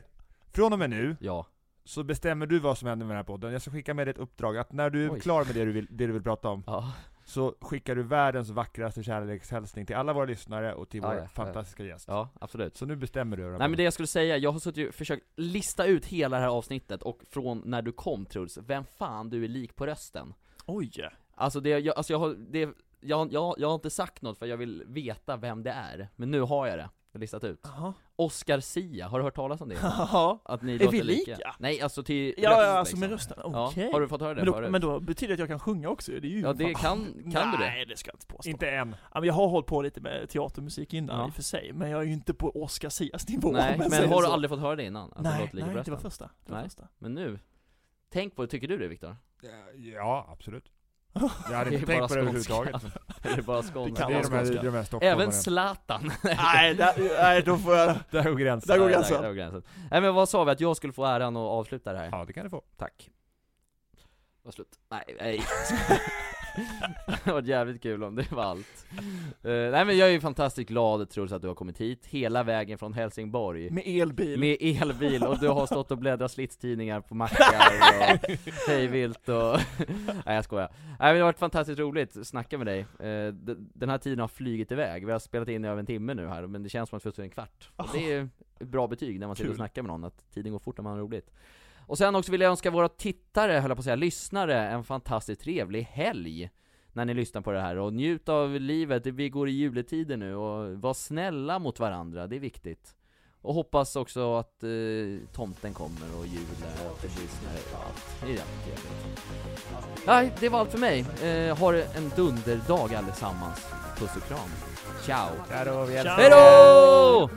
från och med nu
Ja.
så bestämmer du vad som händer med den här podden. Jag ska skicka med dig ett uppdrag att när du är
Oj.
klar med det du, vill, det du vill prata om,
ja.
så skickar du världens vackraste kärlekshälsning till alla våra lyssnare och till
Ja,
vår
ja, ja.
fantastiska gäst.
Ja, absolut.
Så nu bestämmer du.
Nej men det jag skulle säga, jag har suttit och försökt lista ut hela det här avsnittet och från när du kom Truls, vem fan du är lik på rösten.
Oj!
Alltså det, jag, alltså jag har, det, jag, jag, jag har inte sagt något för jag vill veta vem det är, men nu har jag det. Jag har listat ut.
Jaha.
Oscar Sia, har du hört talas om det?
Ja,
Att ni
vi
låter
lika?
Nej, alltså till
ja,
röst,
alltså
liksom.
med rösten,
Ja,
okej.
Har du fått höra det
Men då,
förut?
men då betyder det att jag kan sjunga också det är ju
ja, det
fan-
kan, kan du det?
Nej, det ska jag inte påstå.
Inte än.
Ja, men jag har hållit på lite med teatermusik innan
Ja.
i och för sig, men jag är ju inte på Oscar Sias nivå. om
Nej,
jag
men
säger
har du
så.
aldrig fått höra det innan? Att det
Nej,
låter lika
nej,
bra
det var
rösten?
första. Det var
Nej.
första.
Men nu, tänk på det, tycker du det Viktor?
Ja, absolut. Jag hade
Det är
inte
bara
tänkt på det
skånska.
överhuvudtaget.
Eller är det bara skånska?
Det
Det
kan
är de här,
skånska.
det är de här stockholmarna.
Även Zlatan!
Nej, där, nej, då får jag...
Där går gränsen.
Där går
Nej,
gränsen.
där går gränsen. Nej men vad sa vi? Att jag skulle få äran att avsluta det här?
Ja, det kan du få.
Tack. Var slut. Nej, nej. det var jävligt kul om det var allt. Eh, nej men jag är ju fantastiskt glad Truls att du har kommit hit, hela vägen från Helsingborg.
Med elbil.
Med elbil och du har stått och bläddrat slitstidningar på mackar och hejvilt och... Nej jag skojar. Nej men det har varit fantastiskt roligt att snacka med dig. Eh, d- Den här tiden har flugit iväg, vi har spelat in i över en timme nu här, men det känns som att vi har suttit en kvart. Och det är ju ett bra betyg när man sitter och
Kul.
snackar med någon, att tiden går fort när man har roligt. Och sen också vill jag önska våra tittare, höll jag på att säga, lyssnare, en fantastiskt trevlig helg när ni lyssnar på det här och njut av livet, vi går i juletider nu och var snälla mot varandra, det är viktigt. Och hoppas också att eh, tomten kommer och julen och att det blir snö och allt. Det är jävligt trevligt. Nej, det var allt för mig. Eh, ha en dunderdag allesammans. Puss och kram. Ciao.
Där har vi
Ciao.
Hej då!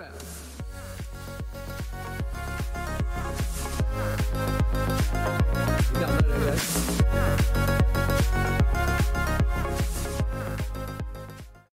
Gamla regler.